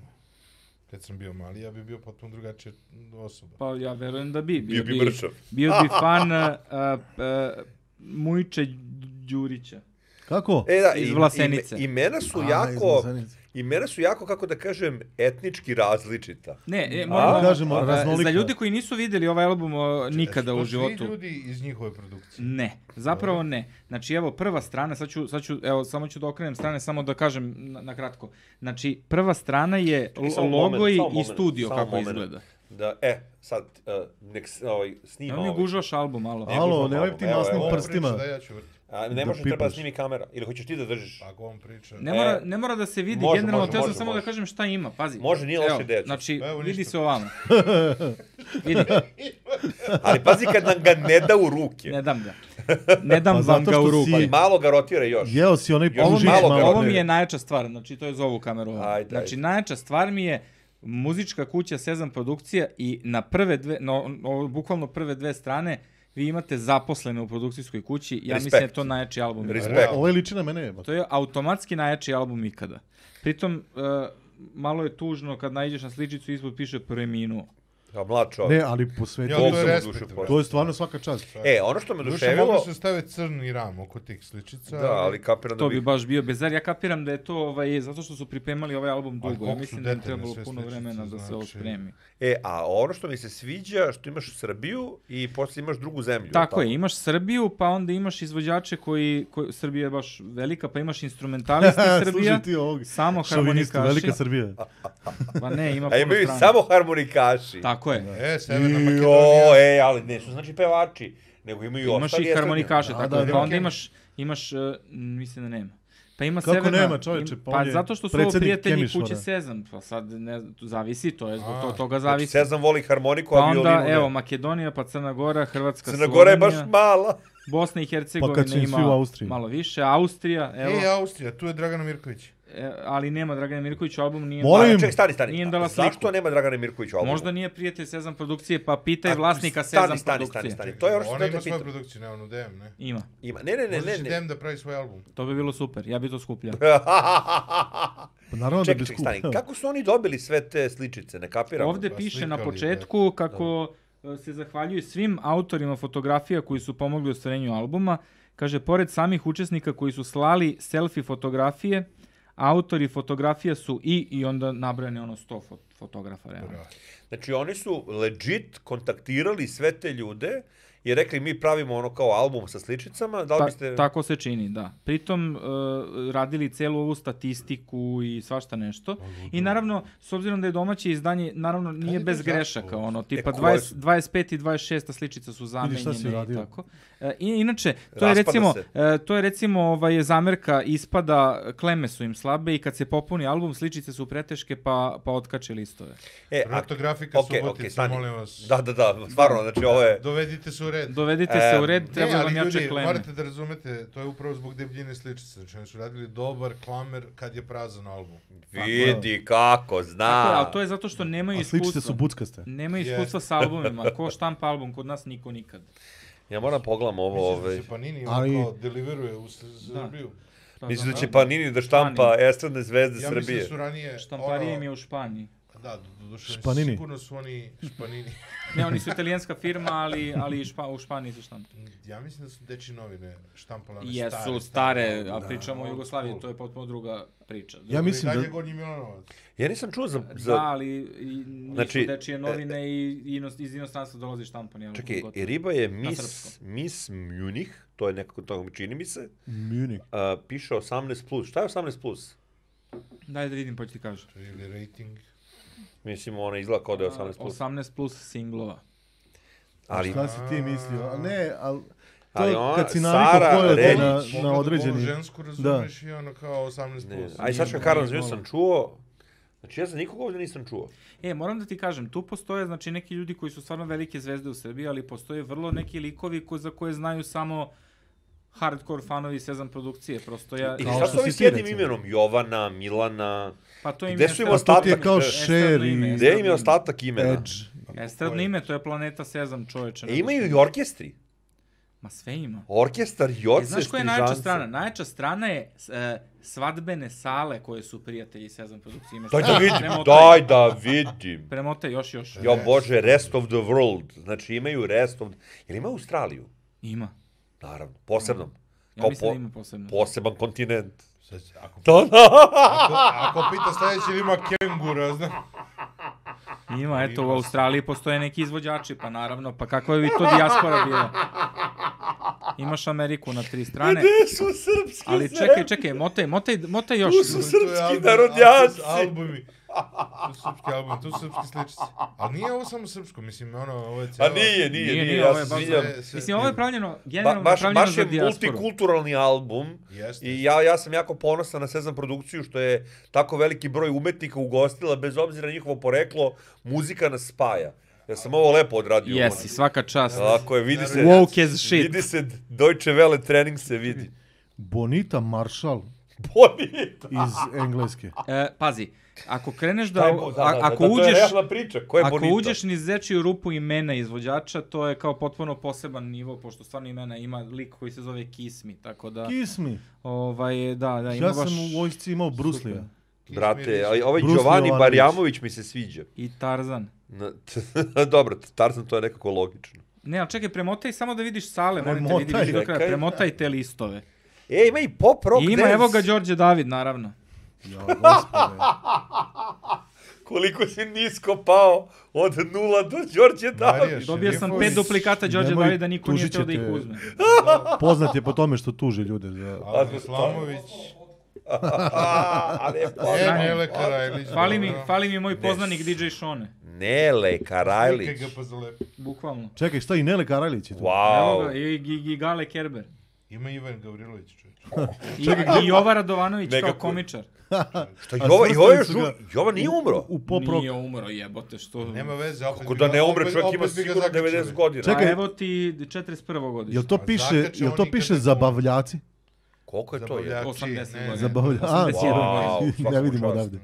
[SPEAKER 4] kad sam bio mali, ja bi bio potpuno drugačija osoba.
[SPEAKER 2] Pa ja verujem da bi.
[SPEAKER 1] Bio bi mršav.
[SPEAKER 2] Bio bi fan uh, uh, Mujče Đurića.
[SPEAKER 3] Kako?
[SPEAKER 1] E, da,
[SPEAKER 2] Iz
[SPEAKER 1] i-
[SPEAKER 2] Vlasenice.
[SPEAKER 1] ime- imena su
[SPEAKER 3] A,
[SPEAKER 1] jako,
[SPEAKER 3] iz Vlasenice.
[SPEAKER 1] imena su jako, kako da kažem, etnički različita.
[SPEAKER 2] Ne, e, ne moramo,
[SPEAKER 3] kažemo,
[SPEAKER 2] a,
[SPEAKER 3] raznolika.
[SPEAKER 2] za ljude koji nisu vidjeli ovaj album a, nikada
[SPEAKER 4] Znači, To
[SPEAKER 2] u
[SPEAKER 4] svi
[SPEAKER 2] životu.
[SPEAKER 4] ljudi iz njihove produkcije.
[SPEAKER 2] Ne, zapravo ne. Znači evo prva strana, sad ću, sad ću evo samo ću da okrenem strane, samo da kažem na, na kratko. Znači prva strana je
[SPEAKER 1] Čekaj,
[SPEAKER 2] lo-
[SPEAKER 1] samo
[SPEAKER 2] logo
[SPEAKER 1] moment,
[SPEAKER 2] i,
[SPEAKER 1] samo
[SPEAKER 2] i
[SPEAKER 1] moment,
[SPEAKER 2] studio
[SPEAKER 1] samo
[SPEAKER 2] kako
[SPEAKER 1] moment.
[SPEAKER 2] izgleda.
[SPEAKER 1] Da, e, sad, uh, nek s- ovaj, snima
[SPEAKER 2] Ja mi
[SPEAKER 1] ovaj.
[SPEAKER 2] gužvaš album malo.
[SPEAKER 1] Ne,
[SPEAKER 3] Alo,
[SPEAKER 1] gužva
[SPEAKER 3] nemoj
[SPEAKER 1] malo.
[SPEAKER 3] ti
[SPEAKER 1] Evo,
[SPEAKER 3] nasnim
[SPEAKER 1] evo,
[SPEAKER 4] Ovo Pa priča
[SPEAKER 3] prstima.
[SPEAKER 4] da ja ću vrti. pa
[SPEAKER 1] A, ne
[SPEAKER 3] da
[SPEAKER 1] može, treba da
[SPEAKER 3] pipaš.
[SPEAKER 1] snimi kamera. Ili hoćeš ti da držiš?
[SPEAKER 4] Ako on priča...
[SPEAKER 2] Ne
[SPEAKER 1] E,
[SPEAKER 2] mora, ne mora da se vidi,
[SPEAKER 1] može,
[SPEAKER 2] generalno
[SPEAKER 1] može,
[SPEAKER 2] teo sam
[SPEAKER 1] može,
[SPEAKER 2] samo
[SPEAKER 1] može.
[SPEAKER 2] da kažem šta ima, pazi.
[SPEAKER 1] Može, nije loše ideja, čuj.
[SPEAKER 2] Znači,
[SPEAKER 4] Evo,
[SPEAKER 2] vidi
[SPEAKER 4] ništa.
[SPEAKER 2] se ovamo. vidi,
[SPEAKER 1] Ali pazi kad nam ga ne da u ruke.
[SPEAKER 2] ne dam ga. Ne dam
[SPEAKER 3] Pa
[SPEAKER 2] vam
[SPEAKER 3] zato
[SPEAKER 2] ga u
[SPEAKER 3] što
[SPEAKER 2] ruku.
[SPEAKER 3] si-
[SPEAKER 1] Pa malo ga rotira još.
[SPEAKER 3] Jeo si onaj
[SPEAKER 1] Još
[SPEAKER 2] Ovo mi,
[SPEAKER 3] pužić
[SPEAKER 2] je,
[SPEAKER 1] malo ga
[SPEAKER 2] ovo
[SPEAKER 3] malo.
[SPEAKER 2] mi
[SPEAKER 1] odbije.
[SPEAKER 2] je najjača stvar, znači to je za ovu kameru. Ajde,
[SPEAKER 1] Ajde,
[SPEAKER 2] znači
[SPEAKER 1] ajde.
[SPEAKER 2] najjača stvar mi je muzička kuća Sezam produkcija i na prve dve, no, ovo, bukvalno prve dve strane vi imate zaposlene u produkcijskoj kući. Ja mislim da je
[SPEAKER 1] Respekt.
[SPEAKER 2] to najjači album. ikada.
[SPEAKER 1] Respekt.
[SPEAKER 3] Ovo je liči na mene jebate.
[SPEAKER 2] To je automatski najjači album ikada. Pritom, e, malo je tužno kad najđeš na sličicu ispod piše preminuo.
[SPEAKER 1] Kao mlad čovjek.
[SPEAKER 3] Ne, ali posveti.
[SPEAKER 4] Ja,
[SPEAKER 1] Bog
[SPEAKER 4] to je
[SPEAKER 1] sam mu
[SPEAKER 4] respekt,
[SPEAKER 1] dušu
[SPEAKER 4] bre.
[SPEAKER 1] pojeo.
[SPEAKER 3] To je stvarno svaka čast.
[SPEAKER 1] E, ono što me
[SPEAKER 4] Duše, mogli
[SPEAKER 1] oduševilo...
[SPEAKER 4] su stave crni ram oko tih sličica.
[SPEAKER 1] Da, ali kapiram da
[SPEAKER 2] To bi
[SPEAKER 1] bih...
[SPEAKER 2] baš bio bezar. Ja kapiram da je to ovaj, zato što su pripremali ovaj album
[SPEAKER 4] Ali
[SPEAKER 2] dugo.
[SPEAKER 4] koliko
[SPEAKER 2] Ja
[SPEAKER 4] su
[SPEAKER 2] mislim da im
[SPEAKER 4] detaljne
[SPEAKER 2] trebalo
[SPEAKER 4] sve
[SPEAKER 2] puno
[SPEAKER 4] sličice,
[SPEAKER 2] vremena da se ovo
[SPEAKER 4] znači.
[SPEAKER 2] spremi.
[SPEAKER 1] E, a ono što mi se sviđa, što imaš Srbiju i posle imaš drugu zemlju.
[SPEAKER 2] Tako je, imaš Srbiju, pa onda imaš izvođače koji, koji Srbija je baš velika, pa imaš instrumentaliste Srbija,
[SPEAKER 3] Služi ti ovog.
[SPEAKER 2] samo
[SPEAKER 3] Šovinistu,
[SPEAKER 2] harmonikaši,
[SPEAKER 3] velika Srbija.
[SPEAKER 2] pa ne, ima
[SPEAKER 1] A
[SPEAKER 2] puno
[SPEAKER 1] imaju
[SPEAKER 2] strana.
[SPEAKER 1] samo harmonikaši.
[SPEAKER 2] Tako je,
[SPEAKER 4] E, Severna Makedonija.
[SPEAKER 1] Jo, e, ali ne su znači pevači, nego imaju
[SPEAKER 2] imaš
[SPEAKER 1] ostali Znači,
[SPEAKER 2] i
[SPEAKER 1] estradi.
[SPEAKER 2] harmonikaše,
[SPEAKER 3] Da,
[SPEAKER 2] tako
[SPEAKER 3] da,
[SPEAKER 2] je,
[SPEAKER 3] da.
[SPEAKER 2] pa onda imaš, imaš, uh, mislim da nema. Pa ima
[SPEAKER 3] Kako
[SPEAKER 2] severna,
[SPEAKER 3] nema, čoveče, pa
[SPEAKER 2] pa,
[SPEAKER 3] on je
[SPEAKER 2] zato što su ovo
[SPEAKER 3] predsjednik
[SPEAKER 2] prijatelji
[SPEAKER 3] Kemišvara.
[SPEAKER 2] kuće Sezam, pa sad ne, znam, zavisi to, je zbog
[SPEAKER 4] A,
[SPEAKER 2] to, toga
[SPEAKER 1] Znači,
[SPEAKER 2] zavisi.
[SPEAKER 1] Sezam voli harmoniku,
[SPEAKER 2] pa
[SPEAKER 1] a violinu
[SPEAKER 2] onda,
[SPEAKER 1] ne.
[SPEAKER 2] evo, Makedonija, pa Crna Gora, Hrvatska,
[SPEAKER 1] Crna Gora je baš
[SPEAKER 2] Slovenija,
[SPEAKER 1] mala.
[SPEAKER 2] Bosna i Hercegovina
[SPEAKER 3] su im svi u
[SPEAKER 2] ima
[SPEAKER 3] Austriji.
[SPEAKER 2] malo više, Austrija, evo.
[SPEAKER 4] E, Austrija, tu je Dragana Mirković.
[SPEAKER 2] E, ali nema Dragana Mirković, album nije...
[SPEAKER 3] Molim,
[SPEAKER 1] A, ček, Pa, stani, stani.
[SPEAKER 2] Nije im dala
[SPEAKER 1] Zašto
[SPEAKER 2] sliku.
[SPEAKER 1] nema Dragana Mirkovića album?
[SPEAKER 2] Možda nije prijatelj Sezam produkcije, pa pitaj
[SPEAKER 1] A,
[SPEAKER 2] vlasnika
[SPEAKER 1] stani,
[SPEAKER 2] Sezam
[SPEAKER 1] stani, stani,
[SPEAKER 2] produkcije.
[SPEAKER 1] stani. To je ono što
[SPEAKER 4] Ona
[SPEAKER 1] sam te
[SPEAKER 4] ima svoju
[SPEAKER 1] pitao.
[SPEAKER 4] produkciju, ne onu DM, ne?
[SPEAKER 2] Ima,
[SPEAKER 1] Ima. Ne, ne, ne, ne,
[SPEAKER 4] Možeš
[SPEAKER 1] ne.
[SPEAKER 4] DM da pravi svoj album.
[SPEAKER 2] to bi bilo super, ja bi to skupljao.
[SPEAKER 3] Pa naravno da
[SPEAKER 1] ček,
[SPEAKER 3] bi
[SPEAKER 1] ček, stani.
[SPEAKER 3] skupio.
[SPEAKER 1] Kako su oni dobili sve te sličice? Ne kapiram.
[SPEAKER 2] Ovde
[SPEAKER 4] pa
[SPEAKER 2] piše
[SPEAKER 4] slika
[SPEAKER 2] na
[SPEAKER 4] lipe.
[SPEAKER 2] početku kako e, se zahvaljuju svim autorima fotografija koji su pomogli u stvarenju albuma. Kaže, pored samih učesnika koji su slali selfie fotografije, autori fotografija su i, i onda nabrane ono 100 fot fotografa, realno.
[SPEAKER 4] Bravo.
[SPEAKER 1] Znači oni su legit kontaktirali sve te ljude i rekli mi pravimo ono kao album sa sličicama,
[SPEAKER 3] Pa,
[SPEAKER 1] da li
[SPEAKER 2] Ta,
[SPEAKER 1] biste...
[SPEAKER 2] Pa, Tako se čini, da. Pritom e, radili celu ovu statistiku i svašta nešto.
[SPEAKER 3] Pa,
[SPEAKER 2] I naravno, s obzirom da je domaće izdanje, naravno nije
[SPEAKER 4] je to
[SPEAKER 2] bez
[SPEAKER 4] izašlo
[SPEAKER 2] grešaka, ono, tipa
[SPEAKER 1] koje
[SPEAKER 2] 20, 25 i 26 sličica su
[SPEAKER 3] E, Vidi šta si
[SPEAKER 2] zamenjene i
[SPEAKER 3] uradio.
[SPEAKER 2] tako. E, i, inače, to je
[SPEAKER 1] Raspada
[SPEAKER 2] recimo,
[SPEAKER 1] se.
[SPEAKER 2] e, to je recimo ovaj, zamerka ispada, kleme su im slabe i kad se popuni album, sličice su preteške pa, pa otkače listove.
[SPEAKER 1] E, a-
[SPEAKER 4] Rotografika
[SPEAKER 1] okej, okej,
[SPEAKER 4] Subotica,
[SPEAKER 1] stani.
[SPEAKER 4] molim vas.
[SPEAKER 1] Da, da, da, stvarno, znači ovo je...
[SPEAKER 4] Dovedite se u red.
[SPEAKER 2] Dovedite
[SPEAKER 1] E,
[SPEAKER 2] se u red, treba
[SPEAKER 4] ne, ali
[SPEAKER 2] vam jače
[SPEAKER 4] ljudi,
[SPEAKER 2] kleme.
[SPEAKER 4] morate da razumete, to je upravo zbog debljine sličice. Znači, oni su radili dobar klamer kad je prazan album.
[SPEAKER 1] Vidi kako,
[SPEAKER 2] Tako je,
[SPEAKER 1] zna.
[SPEAKER 2] ali to je zato što nemaju
[SPEAKER 3] A
[SPEAKER 2] iskustva.
[SPEAKER 3] sličice su buckaste.
[SPEAKER 2] Nema
[SPEAKER 4] Jeste.
[SPEAKER 2] iskustva sa albumima. Ko štampa album, kod nas niko nikad.
[SPEAKER 1] Ja moram pogledam ovo, ovaj. ove...
[SPEAKER 4] Mislim da pa- se Panini
[SPEAKER 3] Ali-
[SPEAKER 4] ali... kao deliveruje u S- Srbiju.
[SPEAKER 2] Pa
[SPEAKER 1] Mislim da
[SPEAKER 2] znam,
[SPEAKER 1] će Panini da štampa estradne zvezde
[SPEAKER 4] Ja mislim da
[SPEAKER 1] Srbije.
[SPEAKER 4] su ranije...
[SPEAKER 2] Štamparija
[SPEAKER 4] ono-
[SPEAKER 2] im je u Španiji.
[SPEAKER 4] Da, do, do, duše,
[SPEAKER 3] Španini.
[SPEAKER 4] sigurno su oni španini.
[SPEAKER 2] Ne, oni su italijanska firma, ali, ali i špa, u Španiji se štampa.
[SPEAKER 4] ja mislim da su deči novine štampala na stare.
[SPEAKER 2] Jesu stare, a pričamo o
[SPEAKER 4] old
[SPEAKER 2] Jugoslaviji,
[SPEAKER 4] school.
[SPEAKER 2] to je potpuno druga priča.
[SPEAKER 3] Ja mislim
[SPEAKER 4] I dalje
[SPEAKER 3] da-
[SPEAKER 4] Gornji Milanovac.
[SPEAKER 1] Ja nisam čuo za... za...
[SPEAKER 2] Da, ali i, nisu
[SPEAKER 1] Znači,
[SPEAKER 2] znači, dečije novine i inos, iz inostranstva dolazi štampani album.
[SPEAKER 1] Čekaj, e-
[SPEAKER 2] gotovo.
[SPEAKER 1] riba je Miss,
[SPEAKER 2] srpskom.
[SPEAKER 1] Miss Munich, to je nekako to mi čini mi se.
[SPEAKER 3] Munich.
[SPEAKER 1] A, piše 18+. Plus. Šta je 18+. Plus?
[SPEAKER 2] Daj da vidim pa ću ti kažem.
[SPEAKER 4] Ili rating.
[SPEAKER 1] Mislim, ona izgleda kao da je 18+. Plus.
[SPEAKER 2] 18 plus singlova.
[SPEAKER 1] Ali,
[SPEAKER 3] Šta si ti mislio? A Ne, ali
[SPEAKER 1] Ali
[SPEAKER 3] To
[SPEAKER 1] ona,
[SPEAKER 3] kad si navikao ko
[SPEAKER 1] Sara,
[SPEAKER 3] je
[SPEAKER 1] Redić,
[SPEAKER 3] na-
[SPEAKER 4] Pogledaj
[SPEAKER 3] na
[SPEAKER 4] polu
[SPEAKER 3] određeni-
[SPEAKER 4] žensku razumeš i ono kao 18
[SPEAKER 1] ne,
[SPEAKER 4] plus.
[SPEAKER 1] aj sad što Karlan Zvijezda sam čuo, znači ja za nikog ovdje nisam čuo.
[SPEAKER 2] E, moram da ti kažem, tu postoje znači neki ljudi koji su stvarno velike zvezde u Srbiji, ali postoje vrlo neki likovi ko, za koje znaju samo hardcore fanovi Sezam produkcije. Prosto ja...
[SPEAKER 1] I
[SPEAKER 3] Kao
[SPEAKER 1] šta
[SPEAKER 3] što
[SPEAKER 1] su ovi
[SPEAKER 3] si
[SPEAKER 1] s
[SPEAKER 3] ti,
[SPEAKER 1] jednim
[SPEAKER 3] recimo.
[SPEAKER 1] imenom? Jovana, Milana,
[SPEAKER 2] Pa to
[SPEAKER 1] I
[SPEAKER 2] im
[SPEAKER 1] gde
[SPEAKER 2] je
[SPEAKER 1] su im
[SPEAKER 2] estradno-
[SPEAKER 1] ostatak?
[SPEAKER 3] ti je kao
[SPEAKER 1] to je
[SPEAKER 3] Cher
[SPEAKER 2] estradno ime,
[SPEAKER 3] i...
[SPEAKER 1] gde im je
[SPEAKER 2] estradno
[SPEAKER 1] ostatak imena?
[SPEAKER 3] Edge.
[SPEAKER 2] ime. Estradno ime, to je planeta Sezam čoveče.
[SPEAKER 1] E, imaju i orkestri.
[SPEAKER 2] Ma sve ima.
[SPEAKER 1] Orkestar i
[SPEAKER 2] E,
[SPEAKER 1] oce,
[SPEAKER 2] znaš koja je najjača
[SPEAKER 1] Strižance.
[SPEAKER 2] strana? Najjača strana je s- e, svadbene sale koje su prijatelji Sezam produkcije. Ima
[SPEAKER 1] Daj da
[SPEAKER 2] šta-
[SPEAKER 1] vidim,
[SPEAKER 2] premotaj.
[SPEAKER 1] daj da vidim.
[SPEAKER 2] Premotaj još, još.
[SPEAKER 1] Jo bože, rest of the world. Znači imaju rest of... Jel ima Australiju?
[SPEAKER 2] Ima.
[SPEAKER 1] Naravno, posebno.
[SPEAKER 2] Ja mislim da ima posebno.
[SPEAKER 1] poseban kontinent.
[SPEAKER 4] Sad će- Ako,
[SPEAKER 1] Da, da.
[SPEAKER 4] ako, ako pita sledeći ili ima kengura, znaš.
[SPEAKER 2] Ima, eto, u Australiji postoje neki izvođači, pa naravno, pa kakva bi to dijaspora bila? Imaš Ameriku na tri strane,
[SPEAKER 1] Gde su srpski
[SPEAKER 2] ali
[SPEAKER 1] se-
[SPEAKER 2] čekaj, čekaj, motaj, motaj, motaj još.
[SPEAKER 1] Tu su
[SPEAKER 4] To je
[SPEAKER 1] Srpski
[SPEAKER 4] album-
[SPEAKER 1] narodnjaci.
[SPEAKER 4] Albumi. To su srpski albumi, to su srpski sličice. A nije ovo samo srpsko, mislim, ono, ovo je
[SPEAKER 1] A
[SPEAKER 4] cijelo...
[SPEAKER 1] nije, nije, nije,
[SPEAKER 2] Nije, nije,
[SPEAKER 1] ja
[SPEAKER 2] ovo je
[SPEAKER 1] se
[SPEAKER 2] baš-
[SPEAKER 1] izvinjam.
[SPEAKER 4] sve- sve-
[SPEAKER 2] Mislim, ovo je pravljeno,
[SPEAKER 1] Ba,
[SPEAKER 2] generalno
[SPEAKER 1] baš,
[SPEAKER 2] pravljeno
[SPEAKER 1] baš
[SPEAKER 2] za
[SPEAKER 1] je
[SPEAKER 2] dijasporu.
[SPEAKER 1] multikulturalni album
[SPEAKER 4] Jeste.
[SPEAKER 1] i ja, ja sam jako ponosan na Sezam produkciju što je tako veliki broj umetnika ugostila bez obzira na njihovo poreklo, muzika nas spaja. Ja sam ovo lepo odradio.
[SPEAKER 2] Jesi, svaka čast.
[SPEAKER 1] Ako je, vidi se,
[SPEAKER 2] Woke as shit.
[SPEAKER 1] vidi se, Deutsche Welle trening se vidi.
[SPEAKER 3] Bonita Marshall
[SPEAKER 1] Bonita.
[SPEAKER 3] iz Engleske.
[SPEAKER 2] E, pazi, ako kreneš da,
[SPEAKER 1] Taj bo-
[SPEAKER 2] a- ako
[SPEAKER 1] da, to je
[SPEAKER 2] uđeš,
[SPEAKER 1] realna priča. Ko je
[SPEAKER 2] Ako
[SPEAKER 1] Bonita?
[SPEAKER 2] uđeš niz zečiju rupu imena izvođača, to je kao potpuno poseban nivo, pošto stvarno imena ima lik koji se zove Kiss Me, tako da...
[SPEAKER 3] Kiss me.
[SPEAKER 2] Ovaj, da, da, ima
[SPEAKER 3] Ja
[SPEAKER 2] baš...
[SPEAKER 3] sam u vojsci imao Bruce
[SPEAKER 2] Super.
[SPEAKER 3] Lee.
[SPEAKER 1] Brate, ali ovaj
[SPEAKER 3] Bruce
[SPEAKER 1] Giovanni
[SPEAKER 3] Jovanović.
[SPEAKER 1] Barjamović mi se sviđa.
[SPEAKER 2] I Tarzan.
[SPEAKER 1] Na- Dobro, Tarzan to je nekako logično.
[SPEAKER 2] Ne, ali čekaj, premotaj samo da vidiš sale, molim te, vidi,
[SPEAKER 3] Premotaj,
[SPEAKER 2] vidi do kraja,
[SPEAKER 1] čekaj.
[SPEAKER 2] premotaj te listove.
[SPEAKER 1] E, ima i pop rock
[SPEAKER 2] I ima,
[SPEAKER 1] dance.
[SPEAKER 2] evo ga Đorđe David, naravno.
[SPEAKER 3] Ja, gospode.
[SPEAKER 1] Koliko si nisko pao od nula do Đorđe Davi.
[SPEAKER 2] Dobio sam pet duplikata Đorđe
[SPEAKER 3] nemoj,
[SPEAKER 2] Davida, niko nije
[SPEAKER 3] tužit
[SPEAKER 2] teo da ih
[SPEAKER 3] ćete.
[SPEAKER 2] uzme.
[SPEAKER 3] Poznat je po tome što tuži ljude za...
[SPEAKER 4] Adno Slamović,
[SPEAKER 1] A, pa ali je pao.
[SPEAKER 4] E, Nele Karajlić.
[SPEAKER 2] Fali mi,
[SPEAKER 4] dobro.
[SPEAKER 2] fali mi moj poznanik DJ Šone,
[SPEAKER 1] Nele Karajlić.
[SPEAKER 4] Nikaj ga pa zalepi.
[SPEAKER 2] bukvalno.
[SPEAKER 3] Čekaj, šta i Nele Karajlić je tu?
[SPEAKER 2] Evo ga,
[SPEAKER 1] Wow.
[SPEAKER 2] i, i, i Gale Kerber.
[SPEAKER 4] Ima Ivan Gavrilović, čovječ.
[SPEAKER 2] I, i Jova Radovanović
[SPEAKER 1] Mega
[SPEAKER 2] kao
[SPEAKER 1] cool.
[SPEAKER 2] komičar.
[SPEAKER 1] Šta,
[SPEAKER 3] A
[SPEAKER 1] Jova, Jova,
[SPEAKER 3] smrznuli
[SPEAKER 1] još,
[SPEAKER 3] su ga
[SPEAKER 1] u- Jova nije umro.
[SPEAKER 3] U pop rock.
[SPEAKER 2] Nije umro, jebote, što...
[SPEAKER 4] Nema veze, opet
[SPEAKER 1] Kako
[SPEAKER 4] bi
[SPEAKER 1] da
[SPEAKER 4] ga-
[SPEAKER 1] ne umre,
[SPEAKER 4] opet-
[SPEAKER 1] čovjek ima
[SPEAKER 4] opet bi ga
[SPEAKER 1] sigurno
[SPEAKER 4] zakačili.
[SPEAKER 1] 90 godina.
[SPEAKER 3] Čekaj.
[SPEAKER 2] A evo ti 41. godište.
[SPEAKER 3] Jel to piše,
[SPEAKER 4] zakačao
[SPEAKER 3] jel to
[SPEAKER 4] nikad
[SPEAKER 3] piše
[SPEAKER 4] ne
[SPEAKER 3] zabavljaci?
[SPEAKER 1] Koliko je to? je?
[SPEAKER 4] Zabavljači,
[SPEAKER 2] 80
[SPEAKER 4] ne.
[SPEAKER 2] godina.
[SPEAKER 3] Zabavljaci. A,
[SPEAKER 2] 81
[SPEAKER 1] Wow,
[SPEAKER 2] godina.
[SPEAKER 1] svaka
[SPEAKER 3] ne vidimo
[SPEAKER 1] čast.
[SPEAKER 3] odavde.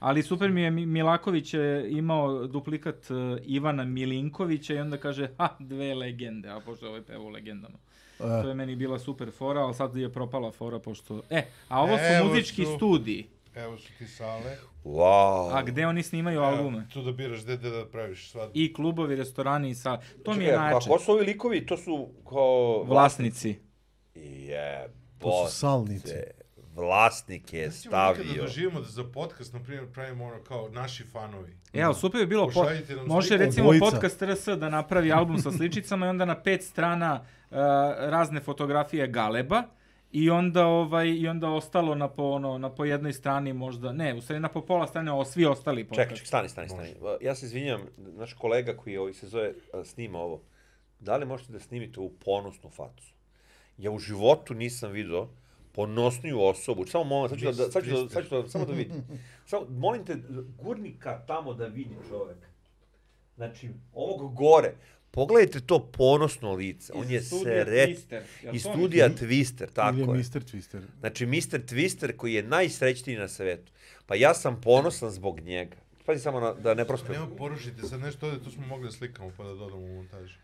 [SPEAKER 2] Ali super mi je, Mi- Milaković je imao duplikat e, Ivana Milinkovića i onda kaže, ha, dve legende, a pošto je ovaj peva u legendama.
[SPEAKER 1] E.
[SPEAKER 2] To je meni bila super fora, ali sad je propala fora pošto... E, a ovo su
[SPEAKER 4] Evo
[SPEAKER 2] muzički
[SPEAKER 4] su.
[SPEAKER 2] studiji.
[SPEAKER 4] Evo su ti sale.
[SPEAKER 1] Wow.
[SPEAKER 2] A gde oni snimaju albume?
[SPEAKER 4] Tu da biraš gde gde da praviš svadbu.
[SPEAKER 2] I klubovi, restorani i sale. To mi je
[SPEAKER 1] Čekaj,
[SPEAKER 2] najjače.
[SPEAKER 1] Pa ko su ovi likovi? To su kao...
[SPEAKER 2] Vlasnici.
[SPEAKER 3] To
[SPEAKER 1] Jebote.
[SPEAKER 3] su salnici.
[SPEAKER 1] Vlasnik je
[SPEAKER 4] Kada
[SPEAKER 1] stavio.
[SPEAKER 4] doživimo da za podcast, na primjer, pravimo ono kao naši fanovi.
[SPEAKER 2] E, ali super bi bilo, po,
[SPEAKER 4] Pošaljite nam
[SPEAKER 2] može
[SPEAKER 4] sliku.
[SPEAKER 2] recimo
[SPEAKER 3] Obojica.
[SPEAKER 2] podcast RS da napravi album sa sličicama i onda na pet strana uh, razne fotografije Galeba i onda ovaj i onda ostalo na po ono na po jednoj strani možda ne u stvari na po pola strane o svi ostali podcast
[SPEAKER 1] Čekaj, čekaj, stani, stani, stani. Uh, Ja se izvinjam, naš kolega koji ovaj se zove a, snima ovo. Da li možete da snimite ovu ponosnu facu? Ja u životu nisam video ponosniju osobu. Samo molim, sad ću da, da, sad ću da, sad ću da, samo da vidim. Samo, molim te, gurni ka tamo da vidi čovek. Znači, ovog gore. Pogledajte to ponosno lice. On
[SPEAKER 2] Iz
[SPEAKER 1] je
[SPEAKER 2] studija
[SPEAKER 1] sret.
[SPEAKER 2] Twister, jel
[SPEAKER 1] Iz
[SPEAKER 2] to
[SPEAKER 1] studija Twister,
[SPEAKER 3] Ili
[SPEAKER 1] tako
[SPEAKER 3] je
[SPEAKER 1] je.
[SPEAKER 3] Mr. Twister.
[SPEAKER 1] Znači, Mr. Twister koji je najsrećniji na svetu. Pa ja sam ponosan zbog njega. Pazi samo na, da ne prosto...
[SPEAKER 4] Nemo porušite sad nešto ovdje, tu smo mogli da slikamo pa da dodamo u montažu.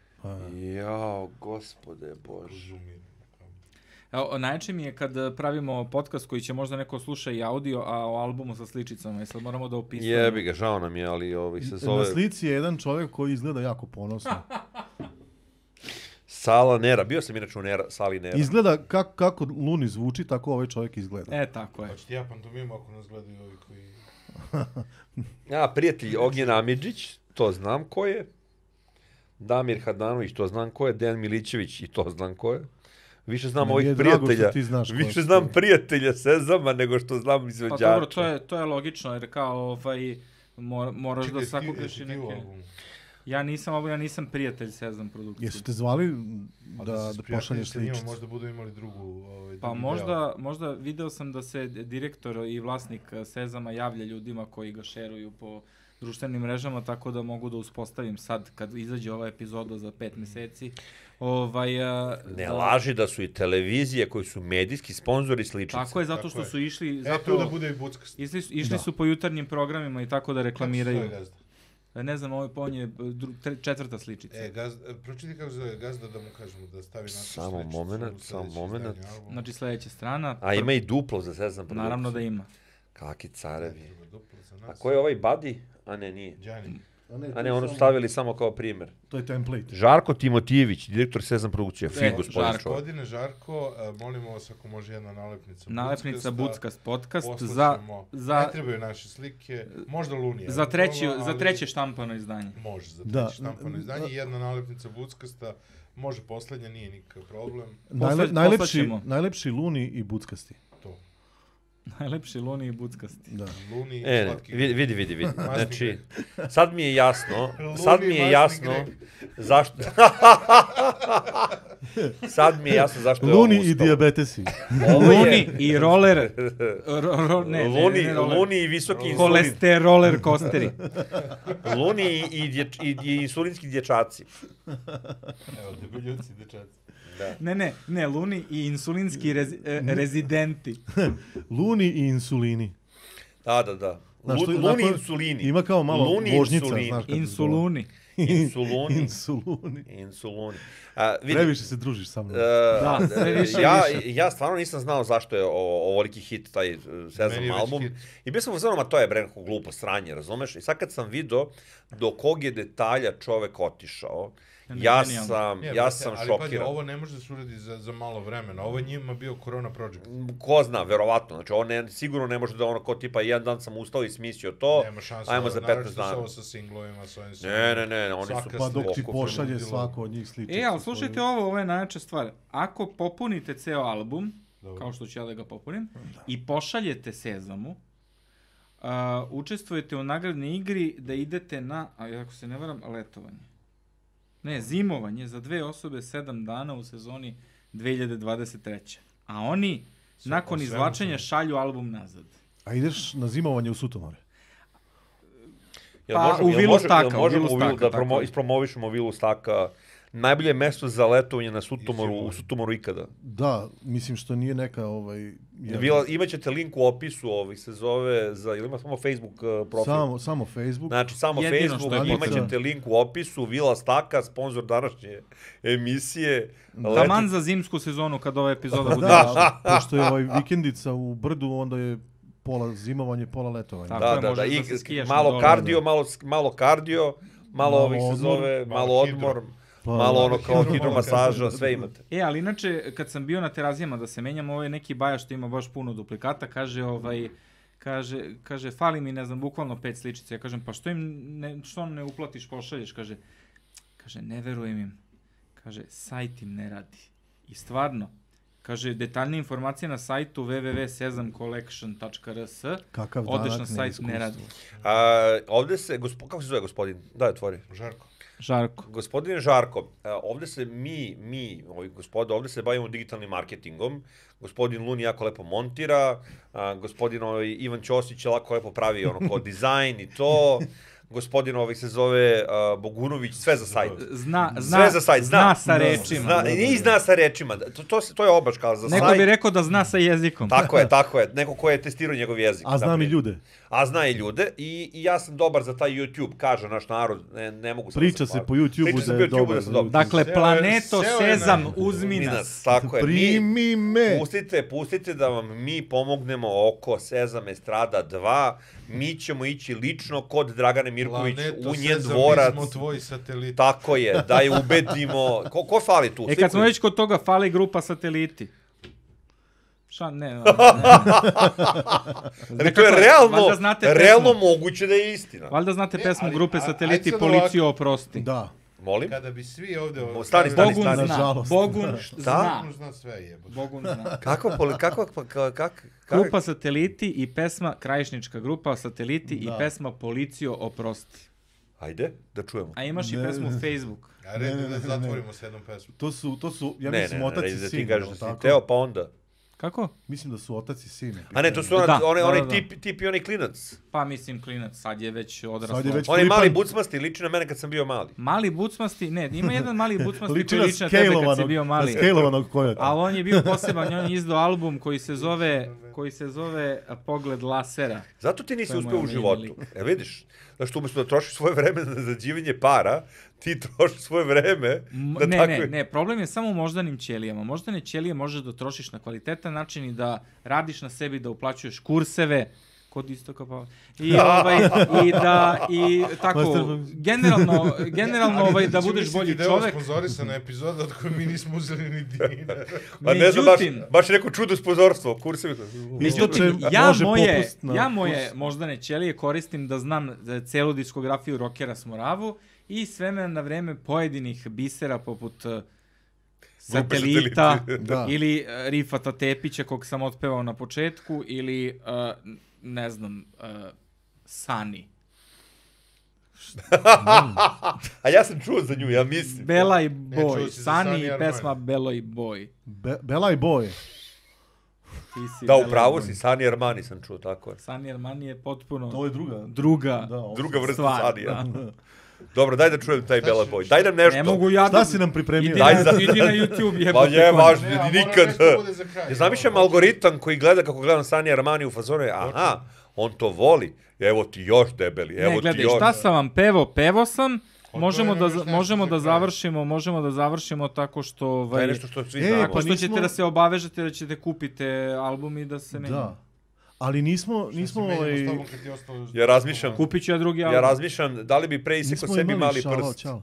[SPEAKER 1] Jao, gospode bože.
[SPEAKER 4] Zoomiramo.
[SPEAKER 2] Evo, o, najjače mi je kad e, pravimo podcast koji će možda neko sluša i audio, a o albumu sa sličicama. I sad moramo da opisujemo.
[SPEAKER 1] Jebi ga, žao nam je, ali ovaj se
[SPEAKER 3] Na
[SPEAKER 1] zove
[SPEAKER 3] slici je jedan čovjek koji izgleda jako ponosno.
[SPEAKER 1] Sala Nera. Bio sam inače u Nera, Sali Nera.
[SPEAKER 3] Izgleda kako, kako Luni zvuči, tako ovaj čovjek izgleda.
[SPEAKER 2] E, tako je.
[SPEAKER 4] Hoćete ja pantomimu ako nas gledaju ovi koji...
[SPEAKER 1] Ja, prijatelj Ognjen Amidžić, to znam ko je. Damir Hadanović, to znam ko je. Dejan Milićević, i to znam ko je. Više znam
[SPEAKER 3] Meni
[SPEAKER 1] ovih
[SPEAKER 3] je drago što
[SPEAKER 1] prijatelja.
[SPEAKER 3] ti znaš ko je
[SPEAKER 1] Više
[SPEAKER 3] to.
[SPEAKER 1] znam prijatelja Sezama nego što znam
[SPEAKER 2] Pa
[SPEAKER 1] izvođača.
[SPEAKER 2] dobro, to je, to je logično, jer kao ovaj, mor, moraš da sakupiš i
[SPEAKER 4] ti u
[SPEAKER 2] neke...
[SPEAKER 4] albumu?
[SPEAKER 2] Ja nisam, ovo, ja nisam prijatelj Sezam produkcije.
[SPEAKER 3] Jesu te zvali da,
[SPEAKER 4] A
[SPEAKER 3] da,
[SPEAKER 4] Pa se sprijateljite
[SPEAKER 3] pošalješ
[SPEAKER 4] njima,
[SPEAKER 3] sličicu?
[SPEAKER 4] Možda budu imali drugu... Ovaj,
[SPEAKER 2] Pa
[SPEAKER 4] drugi
[SPEAKER 2] možda, možda video sam da se d- direktor i vlasnik eh, Sezama javlja ljudima koji ga šeruju po društvenim mrežama, tako da mogu da uspostavim sad, kad izađe ova epizoda za pet meseci. Ovaj, eh,
[SPEAKER 1] Ne
[SPEAKER 2] da-
[SPEAKER 1] laži da su i televizije koji su medijski sponzori sličice.
[SPEAKER 2] Tako je, zato
[SPEAKER 4] Tako
[SPEAKER 2] što
[SPEAKER 4] je.
[SPEAKER 2] su išli,
[SPEAKER 4] deo. E, tu
[SPEAKER 2] zapravo,
[SPEAKER 4] da bude i buckast.
[SPEAKER 2] išli, su- išli
[SPEAKER 3] Da.
[SPEAKER 2] su po jutarnjim programima i tako da reklamiraju. E,
[SPEAKER 4] Kako se zove gazda?
[SPEAKER 2] Ne znam, ovo je ponje eh, dru- tre- četvrta sličica.
[SPEAKER 4] E, gazda, e, pročiti kako se zove gazda da mu kažemo da stavi našu
[SPEAKER 1] Samo
[SPEAKER 4] sličicu
[SPEAKER 1] momenat,
[SPEAKER 4] u
[SPEAKER 1] samo
[SPEAKER 4] sljedeće
[SPEAKER 1] momenat.
[SPEAKER 4] izdanje albuma.
[SPEAKER 2] Znači sledeća strana.
[SPEAKER 1] A ima i duplo za sezam produkciju.
[SPEAKER 2] Naravno da ima.
[SPEAKER 1] Kaki carevi.
[SPEAKER 4] Treba duplo za
[SPEAKER 1] A
[SPEAKER 4] nas.
[SPEAKER 1] ko je ovaj Badi? A ne, nije.
[SPEAKER 4] Đani.
[SPEAKER 1] A ne, ono su stavili samo kao primjer.
[SPEAKER 3] To je template.
[SPEAKER 1] Žarko Timotijević, direktor Sezam produkcije. Fin
[SPEAKER 2] E,
[SPEAKER 1] gospodin
[SPEAKER 2] Žarko.
[SPEAKER 1] čovjek.
[SPEAKER 4] Godine Žarko, e, molimo vas ako može jedna nalepnica.
[SPEAKER 2] Nalepnica
[SPEAKER 4] buckasta.
[SPEAKER 2] Buckast podcast za,
[SPEAKER 4] Poslaćemo.
[SPEAKER 2] za,
[SPEAKER 4] Ne trebaju naše slike, možda Lunija.
[SPEAKER 2] za, treći,
[SPEAKER 4] eventualno,
[SPEAKER 2] za
[SPEAKER 4] ali-
[SPEAKER 2] treće štampano izdanje.
[SPEAKER 4] Može, za
[SPEAKER 3] Da.
[SPEAKER 4] treće štampano izdanje. Jedna nalepnica buckasta, može poslednja, nije nikakav problem.
[SPEAKER 3] Najle,
[SPEAKER 2] Posla-
[SPEAKER 3] najlepši,
[SPEAKER 2] poslaćemo.
[SPEAKER 3] najlepši luni i buckasti.
[SPEAKER 4] To.
[SPEAKER 2] Najlepši luni i buckasti.
[SPEAKER 3] Da.
[SPEAKER 4] Luni,
[SPEAKER 1] E,
[SPEAKER 4] slatki
[SPEAKER 1] vidi, vidi, vidi. vidi.
[SPEAKER 4] Masni
[SPEAKER 1] Znači,
[SPEAKER 4] greh.
[SPEAKER 1] sad mi je jasno,
[SPEAKER 4] Luni
[SPEAKER 1] sad mi je
[SPEAKER 4] masni
[SPEAKER 1] jasno
[SPEAKER 4] greh.
[SPEAKER 1] zašto... sad mi je jasno zašto je ovo
[SPEAKER 3] Luni i
[SPEAKER 1] uspelo.
[SPEAKER 3] dijabetesi.
[SPEAKER 1] Ovo je-
[SPEAKER 2] Luni i roller. Ro, ro, ne, ne,
[SPEAKER 1] Luni,
[SPEAKER 2] ne, ne, roller.
[SPEAKER 1] Luni i visoki insulin.
[SPEAKER 2] Kolesteroler kosteri.
[SPEAKER 1] Luni i, i, dječ, i, i insulinski dječaci.
[SPEAKER 4] Evo, debeljuci, dečaci.
[SPEAKER 2] Ne, ne, ne, Luni i insulinski rezi, e, rezidenti.
[SPEAKER 3] luni i insulini.
[SPEAKER 1] Da, da, da.
[SPEAKER 3] Znaš,
[SPEAKER 1] Lu,
[SPEAKER 3] to je
[SPEAKER 1] luni
[SPEAKER 3] onako-
[SPEAKER 1] insulini.
[SPEAKER 3] Ima kao malo
[SPEAKER 1] Luni
[SPEAKER 3] vožnjica.
[SPEAKER 1] insulini.
[SPEAKER 3] Znaš, kako se
[SPEAKER 2] Insuluni.
[SPEAKER 3] zove.
[SPEAKER 1] Insuluni.
[SPEAKER 3] insuluni.
[SPEAKER 1] Insuluni. A, vidi, E,
[SPEAKER 3] Previše se družiš sa mnom.
[SPEAKER 1] Da,
[SPEAKER 2] sve više i
[SPEAKER 1] ja,
[SPEAKER 2] više.
[SPEAKER 1] ja stvarno nisam znao zašto je ovo, ovoliki hit taj e,
[SPEAKER 4] Meni
[SPEAKER 1] Sezam
[SPEAKER 4] je već
[SPEAKER 1] album.
[SPEAKER 4] hit.
[SPEAKER 1] I bio sam u fazonu, ma to je bre neko glupo sranje, razumeš? I sad kad sam video do kog je detalja čovek otišao,
[SPEAKER 2] Ja ne,
[SPEAKER 1] ja
[SPEAKER 2] genijalno.
[SPEAKER 1] sam,
[SPEAKER 4] Ne, ono-
[SPEAKER 1] ja
[SPEAKER 4] brate,
[SPEAKER 1] sam
[SPEAKER 4] ali pazi,
[SPEAKER 1] šokiran.
[SPEAKER 4] ovo ne može da se uradi za, za malo vremena. Ovo je njima bio korona project.
[SPEAKER 1] Ko zna, verovatno. Znači, ovo ne, sigurno ne može da ono ko tipa jedan dan sam ustao i smislio to,
[SPEAKER 4] Nema šanse.
[SPEAKER 1] ajmo za 15
[SPEAKER 4] Naravno
[SPEAKER 1] dana.
[SPEAKER 4] ovo sa singlovima, sa ovim
[SPEAKER 1] Ne, ne, ne, oni su
[SPEAKER 4] Svaka
[SPEAKER 3] pa dok ti
[SPEAKER 1] okupljeni.
[SPEAKER 3] pošalje
[SPEAKER 4] ludilo.
[SPEAKER 3] svako od njih sličicu.
[SPEAKER 2] E, ali slušajte ovo, ovo je najjača stvar. Ako popunite ceo album,
[SPEAKER 4] Dobro.
[SPEAKER 2] kao što ću ja da ga popunim, i pošaljete Sezamu, a, učestvujete u nagradnoj igri da idete na, a ako se ne varam, letovanje. Ne, zimovanje za dve osobe sedam dana u sezoni 2023. A oni,
[SPEAKER 4] Sve-
[SPEAKER 2] nakon
[SPEAKER 4] o svemu
[SPEAKER 2] izvlačenja,
[SPEAKER 4] sam-
[SPEAKER 2] šalju album nazad.
[SPEAKER 3] A ideš na zimovanje u Sutomore.
[SPEAKER 1] Jel
[SPEAKER 2] Pa,
[SPEAKER 1] možemo-
[SPEAKER 2] u
[SPEAKER 1] jel
[SPEAKER 2] Vilu
[SPEAKER 1] možemo- jel
[SPEAKER 2] Staka, u
[SPEAKER 1] možemo
[SPEAKER 2] Vilu
[SPEAKER 1] u Vilu
[SPEAKER 2] Staka,
[SPEAKER 1] da promo,
[SPEAKER 2] tako je.
[SPEAKER 1] ispromovišemo Vilu Staka. Najbolje mesto za letovanje na Sutomoru, u
[SPEAKER 4] Izjavno.
[SPEAKER 1] Sutomoru ikada.
[SPEAKER 3] Da, mislim što nije neka ovaj... jedna-
[SPEAKER 1] Vila, imaćete link u opisu ovih se zove za ili ima samo Facebook eh, profil.
[SPEAKER 3] samo, samo Facebook.
[SPEAKER 1] Znači samo
[SPEAKER 2] Jedino
[SPEAKER 1] Facebook,
[SPEAKER 2] što je
[SPEAKER 3] potrebno.
[SPEAKER 1] imaćete link u opisu Vila Staka, sponsor današnje emisije. Leti-
[SPEAKER 2] Taman za zimsku sezonu kad ova epizoda bude izašla.
[SPEAKER 3] Da, pošto je ovaj vikendica u brdu, onda je pola zimovanje, pola letovanje.
[SPEAKER 2] Tako.
[SPEAKER 1] Da,
[SPEAKER 2] je,
[SPEAKER 1] da, da,
[SPEAKER 2] možeš
[SPEAKER 1] i
[SPEAKER 2] da se skijaš na
[SPEAKER 1] malo
[SPEAKER 2] dole,
[SPEAKER 1] kardio, malo s- malo kardio, malo
[SPEAKER 3] Malo
[SPEAKER 1] ovih se
[SPEAKER 3] odmor,
[SPEAKER 1] zove,
[SPEAKER 4] malo
[SPEAKER 1] malo
[SPEAKER 4] hidro.
[SPEAKER 1] odmor,
[SPEAKER 3] Pa,
[SPEAKER 1] malo ono kao
[SPEAKER 4] hidro, malo
[SPEAKER 1] hidromasaža,
[SPEAKER 4] kardio.
[SPEAKER 1] sve imate.
[SPEAKER 2] E, ali inače, kad sam bio na terazijama da se menjam, ovaj neki baja što ima baš puno duplikata, kaže, ovaj, kaže, kaže, fali mi, ne znam, bukvalno pet sličica. Ja kažem, pa što im, ne, što ne uplatiš, pošalješ? Kaže, kaže, ne verujem im. Kaže, sajt im ne radi. I stvarno, kaže, detaljne informacije na sajtu www.sezamcollection.rs
[SPEAKER 3] Kakav
[SPEAKER 2] Odeš
[SPEAKER 3] danak
[SPEAKER 2] na sajt,
[SPEAKER 3] neiskustvo.
[SPEAKER 2] ne radi.
[SPEAKER 1] A, ovde se, gospo, kako se zove gospodin? Daj, otvori.
[SPEAKER 4] Žarko.
[SPEAKER 2] Žarko.
[SPEAKER 1] Gospodine Žarko, e, ovde se mi, mi, ovi gospoda, ovde se bavimo digitalnim marketingom. Gospodin Luni jako lepo montira, a, gospodin ovaj, Ivan Ćosić je lako lepo pravi ono kao dizajn i to. Gospodin ovaj se zove a, Bogunović, sve za sajt.
[SPEAKER 2] Zna, zna,
[SPEAKER 1] Sve za sajt, zna.
[SPEAKER 2] zna sa
[SPEAKER 1] Da,
[SPEAKER 2] rečima.
[SPEAKER 1] Zna, I zna sa rečima. To, to, se- to je obač kao za
[SPEAKER 2] Neko
[SPEAKER 1] sajt.
[SPEAKER 2] bi rekao da zna sa jezikom.
[SPEAKER 1] Tako je, tako je. Neko ko je testirao njegov jezik.
[SPEAKER 3] A znam i
[SPEAKER 1] naprijed.
[SPEAKER 3] ljude.
[SPEAKER 1] A zna i ljude i, i ja sam dobar za taj YouTube, kaže naš narod, ne, ne mogu sad
[SPEAKER 3] Priča
[SPEAKER 1] da
[SPEAKER 3] se
[SPEAKER 1] hvalim.
[SPEAKER 3] po YouTubeu
[SPEAKER 1] Priča se
[SPEAKER 3] da
[SPEAKER 1] po
[SPEAKER 3] je
[SPEAKER 1] YouTubeu
[SPEAKER 3] dobar
[SPEAKER 1] da
[SPEAKER 3] za
[SPEAKER 1] sam dobar.
[SPEAKER 3] YouTube.
[SPEAKER 2] Dakle,
[SPEAKER 4] Seo je-
[SPEAKER 2] planeto
[SPEAKER 4] seo je na-
[SPEAKER 2] Sezam, uzmi
[SPEAKER 1] Mi
[SPEAKER 2] nas.
[SPEAKER 1] nas, tako je. Mi,
[SPEAKER 3] Primi me!
[SPEAKER 1] pustite, pustite da vam mi pomognemo oko Sezam Estrada 2. Mi ćemo ići lično kod Dragane Mirković
[SPEAKER 4] Planeto
[SPEAKER 1] u njen
[SPEAKER 4] Sezam,
[SPEAKER 1] dvorac.
[SPEAKER 4] Mi smo tvoji sateliti.
[SPEAKER 1] Tako je, da je ubedimo. Ko, ko fali tu?
[SPEAKER 2] E
[SPEAKER 1] Svi
[SPEAKER 2] kad smo
[SPEAKER 1] koji-
[SPEAKER 2] već kod toga, fali grupa sateliti. Šta, ne, ne, ne.
[SPEAKER 1] Ali to je
[SPEAKER 2] Valjda
[SPEAKER 1] realno,
[SPEAKER 2] znate pesmu.
[SPEAKER 1] realno moguće da je istina.
[SPEAKER 2] Valjda znate pesmu
[SPEAKER 4] ali-
[SPEAKER 2] grupe
[SPEAKER 4] a-
[SPEAKER 2] sateliti
[SPEAKER 4] ajde sad
[SPEAKER 2] Policiju oprosti.
[SPEAKER 3] Da,
[SPEAKER 1] Molim?
[SPEAKER 4] Kada bi svi ovde...
[SPEAKER 1] Mo- stani, stani,
[SPEAKER 2] Bogun
[SPEAKER 1] stani.
[SPEAKER 2] zna,
[SPEAKER 3] Nažalost.
[SPEAKER 2] Bogun
[SPEAKER 3] Šta?
[SPEAKER 2] zna.
[SPEAKER 4] Bogun zna sve jebote.
[SPEAKER 2] Bogun zna.
[SPEAKER 1] Kako, poli, kako, pa, ka- kak, kak,
[SPEAKER 2] Grupa sateliti i pesma, krajišnička grupa sateliti i
[SPEAKER 3] Da.
[SPEAKER 2] pesma Policiju oprosti.
[SPEAKER 1] Ajde, da čujemo.
[SPEAKER 2] A imaš i
[SPEAKER 3] Ne.
[SPEAKER 2] pesmu Facebook.
[SPEAKER 4] A red
[SPEAKER 3] Ne,
[SPEAKER 4] je
[SPEAKER 3] ne, ne, ne,
[SPEAKER 4] da
[SPEAKER 3] ne.
[SPEAKER 4] zatvorimo s jednom pesmom.
[SPEAKER 3] To su, to su, ja
[SPEAKER 1] ne,
[SPEAKER 3] mislim,
[SPEAKER 1] ne, ne,
[SPEAKER 3] otac
[SPEAKER 1] ne,
[SPEAKER 3] i
[SPEAKER 1] da
[SPEAKER 3] sin.
[SPEAKER 1] ti kažeš da
[SPEAKER 3] jel
[SPEAKER 1] si
[SPEAKER 3] tako?
[SPEAKER 1] teo, pa onda.
[SPEAKER 2] Kako?
[SPEAKER 3] Mislim da su otac i sin. je
[SPEAKER 1] A ne, to su
[SPEAKER 3] pitanje.
[SPEAKER 1] onaj,
[SPEAKER 2] Da,
[SPEAKER 1] onaj, onaj
[SPEAKER 2] da, da.
[SPEAKER 1] tip, tip i onaj klinac.
[SPEAKER 2] Pa mislim klinac, sad je već odraslo.
[SPEAKER 3] Sad je već-
[SPEAKER 1] Onaj
[SPEAKER 3] Flipan.
[SPEAKER 2] pa-
[SPEAKER 1] mali bucmasti, liči na mene kad sam bio mali.
[SPEAKER 2] Mali bucmasti, ne, ima jedan mali bucmasti
[SPEAKER 3] Liči
[SPEAKER 2] koji
[SPEAKER 3] na
[SPEAKER 2] liči na tebe kad si
[SPEAKER 3] scalovanog,
[SPEAKER 2] bio
[SPEAKER 3] na
[SPEAKER 2] mali.
[SPEAKER 3] scalovanog kojota.
[SPEAKER 1] Pa.
[SPEAKER 2] Ali on je bio poseban, on je izdao album koji se zove, koji se zove a, Pogled lasera.
[SPEAKER 1] Zato ti
[SPEAKER 2] To
[SPEAKER 1] nisi
[SPEAKER 2] je
[SPEAKER 1] uspeo u
[SPEAKER 2] moj
[SPEAKER 1] životu.
[SPEAKER 2] omiljeni
[SPEAKER 1] E vidiš, znaš što umjesto da trošiš svoje vreme na zađivanje para, ti trošiš svoje vreme
[SPEAKER 2] M-
[SPEAKER 1] da
[SPEAKER 2] ne,
[SPEAKER 1] tako...
[SPEAKER 2] ne, ne, problem je samo u moždanim ćelijama. Moždane ćelije možeš da trošiš na kvalitetan način i da radiš na sebi, da uplaćuješ kurseve, kod istoka pa i ovaj i da i tako
[SPEAKER 3] Master-
[SPEAKER 2] generalno generalno ovaj da budeš bolji čovjek
[SPEAKER 4] Sponzorisana epizoda od koje mi nismo uzeli ni dinara.
[SPEAKER 1] A ne znam, baš,
[SPEAKER 2] međutim-
[SPEAKER 1] baš je neko čudo spozorstvo, kursevi.
[SPEAKER 2] Međutim,
[SPEAKER 3] Izlače,
[SPEAKER 2] ja
[SPEAKER 3] može
[SPEAKER 2] moje,
[SPEAKER 3] popust na
[SPEAKER 2] ja moje
[SPEAKER 3] kurs.
[SPEAKER 2] moždane ćelije koristim da znam za celu diskografiju rokera s Moravu i s vremena na vreme pojedinih bisera poput eh, satelita
[SPEAKER 1] sateliti.
[SPEAKER 3] Da.
[SPEAKER 2] ili eh, Rifata Tepića kog sam otpevao na početku ili eh, n- ne znam eh, Sani.
[SPEAKER 1] A ja sam čuo za nju, ja mislim.
[SPEAKER 2] Bela i
[SPEAKER 4] E,
[SPEAKER 2] Boj.
[SPEAKER 4] čuo si za
[SPEAKER 2] Sani
[SPEAKER 4] Sani
[SPEAKER 2] i
[SPEAKER 4] Armani.
[SPEAKER 2] pesma Belo i Boj.
[SPEAKER 3] Be, Bela i boje.
[SPEAKER 2] Ti si
[SPEAKER 1] Da,
[SPEAKER 2] Bela i
[SPEAKER 1] upravo
[SPEAKER 2] Boj.
[SPEAKER 1] si, Sani Armani sam čuo, tako je.
[SPEAKER 2] Sani Armani je potpuno
[SPEAKER 3] To je druga.
[SPEAKER 2] druga.
[SPEAKER 3] Da, ovo-
[SPEAKER 1] Druga vrsta
[SPEAKER 2] Stvar,
[SPEAKER 1] Sanija.
[SPEAKER 3] Da.
[SPEAKER 1] Dobro, daj da čujem taj Bela Boj. Daj nam nešto.
[SPEAKER 2] Ne mogu ja
[SPEAKER 3] Šta si nam pripremio?
[SPEAKER 2] Idi
[SPEAKER 1] Daj
[SPEAKER 2] na,
[SPEAKER 1] za-
[SPEAKER 2] idi na YouTube, jebote.
[SPEAKER 1] Pa je,
[SPEAKER 2] konja.
[SPEAKER 1] važno,
[SPEAKER 4] Ne, a mora
[SPEAKER 1] nikad.
[SPEAKER 4] nešto bude za kraj. Ono,
[SPEAKER 1] Ja zamišljam algoritam koji gleda kako gledam Sani Armani u fazonu, aha, on to voli, evo ti još debeli, evo
[SPEAKER 2] ne,
[SPEAKER 1] ti
[SPEAKER 2] gledaj,
[SPEAKER 1] još.
[SPEAKER 2] šta sam vam pevo, pevo sam.
[SPEAKER 4] je
[SPEAKER 2] Možemo da,
[SPEAKER 4] nam još nešto
[SPEAKER 2] možemo
[SPEAKER 4] za
[SPEAKER 2] da
[SPEAKER 4] kraj.
[SPEAKER 2] završimo, možemo da završimo tako što...
[SPEAKER 1] To
[SPEAKER 2] Ovaj,
[SPEAKER 1] je nešto što svi
[SPEAKER 3] E,
[SPEAKER 1] znamo.
[SPEAKER 2] Tako što
[SPEAKER 3] nismo-
[SPEAKER 2] ćete da se obavežete da ćete kupite album i da se meni...
[SPEAKER 3] Da. Ali nismo, nismo, ovaj,
[SPEAKER 1] Ja razmišljam,
[SPEAKER 2] Kupit ću ja drugi album.
[SPEAKER 1] ja razmišljam da li bi pre isekao
[SPEAKER 3] nismo
[SPEAKER 1] sebi
[SPEAKER 3] imali
[SPEAKER 1] mali
[SPEAKER 3] šalao
[SPEAKER 1] prst.
[SPEAKER 3] čala.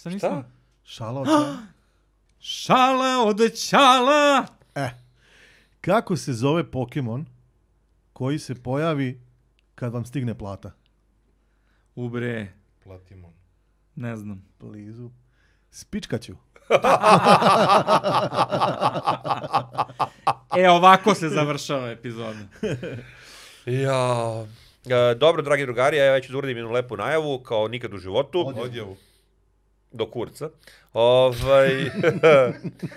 [SPEAKER 2] Šta nisam?
[SPEAKER 3] Šalao čala.
[SPEAKER 2] Šala od čala!
[SPEAKER 3] Kako se zove Pokemon koji se pojavi kad vam stigne plata?
[SPEAKER 2] Ubre,
[SPEAKER 4] Platimo.
[SPEAKER 2] ne znam.
[SPEAKER 3] Blizu. Spičkaću.
[SPEAKER 2] E, ovako se završava epizoda.
[SPEAKER 1] Ja... E, dobro, dragi drugari, ja već da uradim jednu lepu najavu, kao nikad u životu,
[SPEAKER 4] Odjavu.
[SPEAKER 1] do kurca. Ovaj,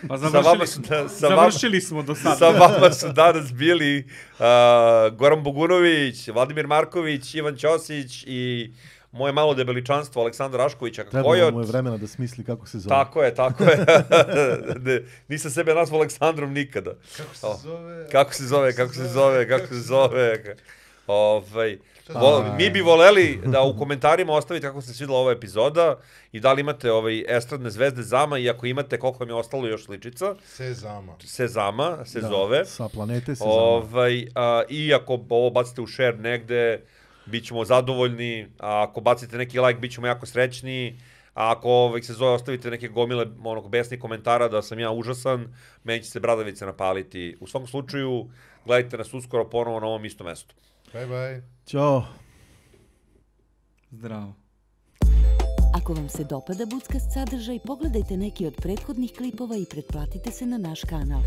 [SPEAKER 2] Pa
[SPEAKER 1] sa vama,
[SPEAKER 2] završili,
[SPEAKER 1] su-
[SPEAKER 2] smo-
[SPEAKER 1] da, sa vama,
[SPEAKER 2] završili smo do sada.
[SPEAKER 1] sa vama su danas bili uh, Goran Bogunović, Vladimir Marković, Ivan Ćosić i moje malo debeličanstvo Aleksandar Rašković, a
[SPEAKER 3] Trebalo
[SPEAKER 1] Kojot.
[SPEAKER 3] mu je vremena da smisli kako se zove.
[SPEAKER 1] Tako je, tako je. ne, nisam sebe nazvao Aleksandrom nikada.
[SPEAKER 4] Kako se
[SPEAKER 1] O,
[SPEAKER 4] zove?
[SPEAKER 1] Kako se zove, kako se zove, kako se zove. Ovaj, vol,
[SPEAKER 3] Aj.
[SPEAKER 1] mi bi voleli da u komentarima ostavite kako se svidela ova epizoda i da li imate ovaj estradne zvezde Zama i ako imate koliko vam je ostalo još sličica.
[SPEAKER 4] Sezama.
[SPEAKER 1] Sezama se
[SPEAKER 3] Da,
[SPEAKER 1] zove.
[SPEAKER 3] Sa planete se ono. zove.
[SPEAKER 1] Ovaj, a, I ako ovo bacite u share negde, bit ćemo zadovoljni. A ako bacite neki like, bit ćemo jako srećni. A ako ovaj, se zove, ostavite neke gomile onog besnih komentara da sam ja užasan, meni će se bradavice napaliti. U svakom slučaju, gledajte nas uskoro ponovo na ovom istom mestu.
[SPEAKER 4] Bye bye.
[SPEAKER 3] Ćao.
[SPEAKER 2] Zdravo.
[SPEAKER 5] Ako vam se dopada Budskast sadržaj, pogledajte neki od prethodnih klipova i pretplatite se na naš kanal.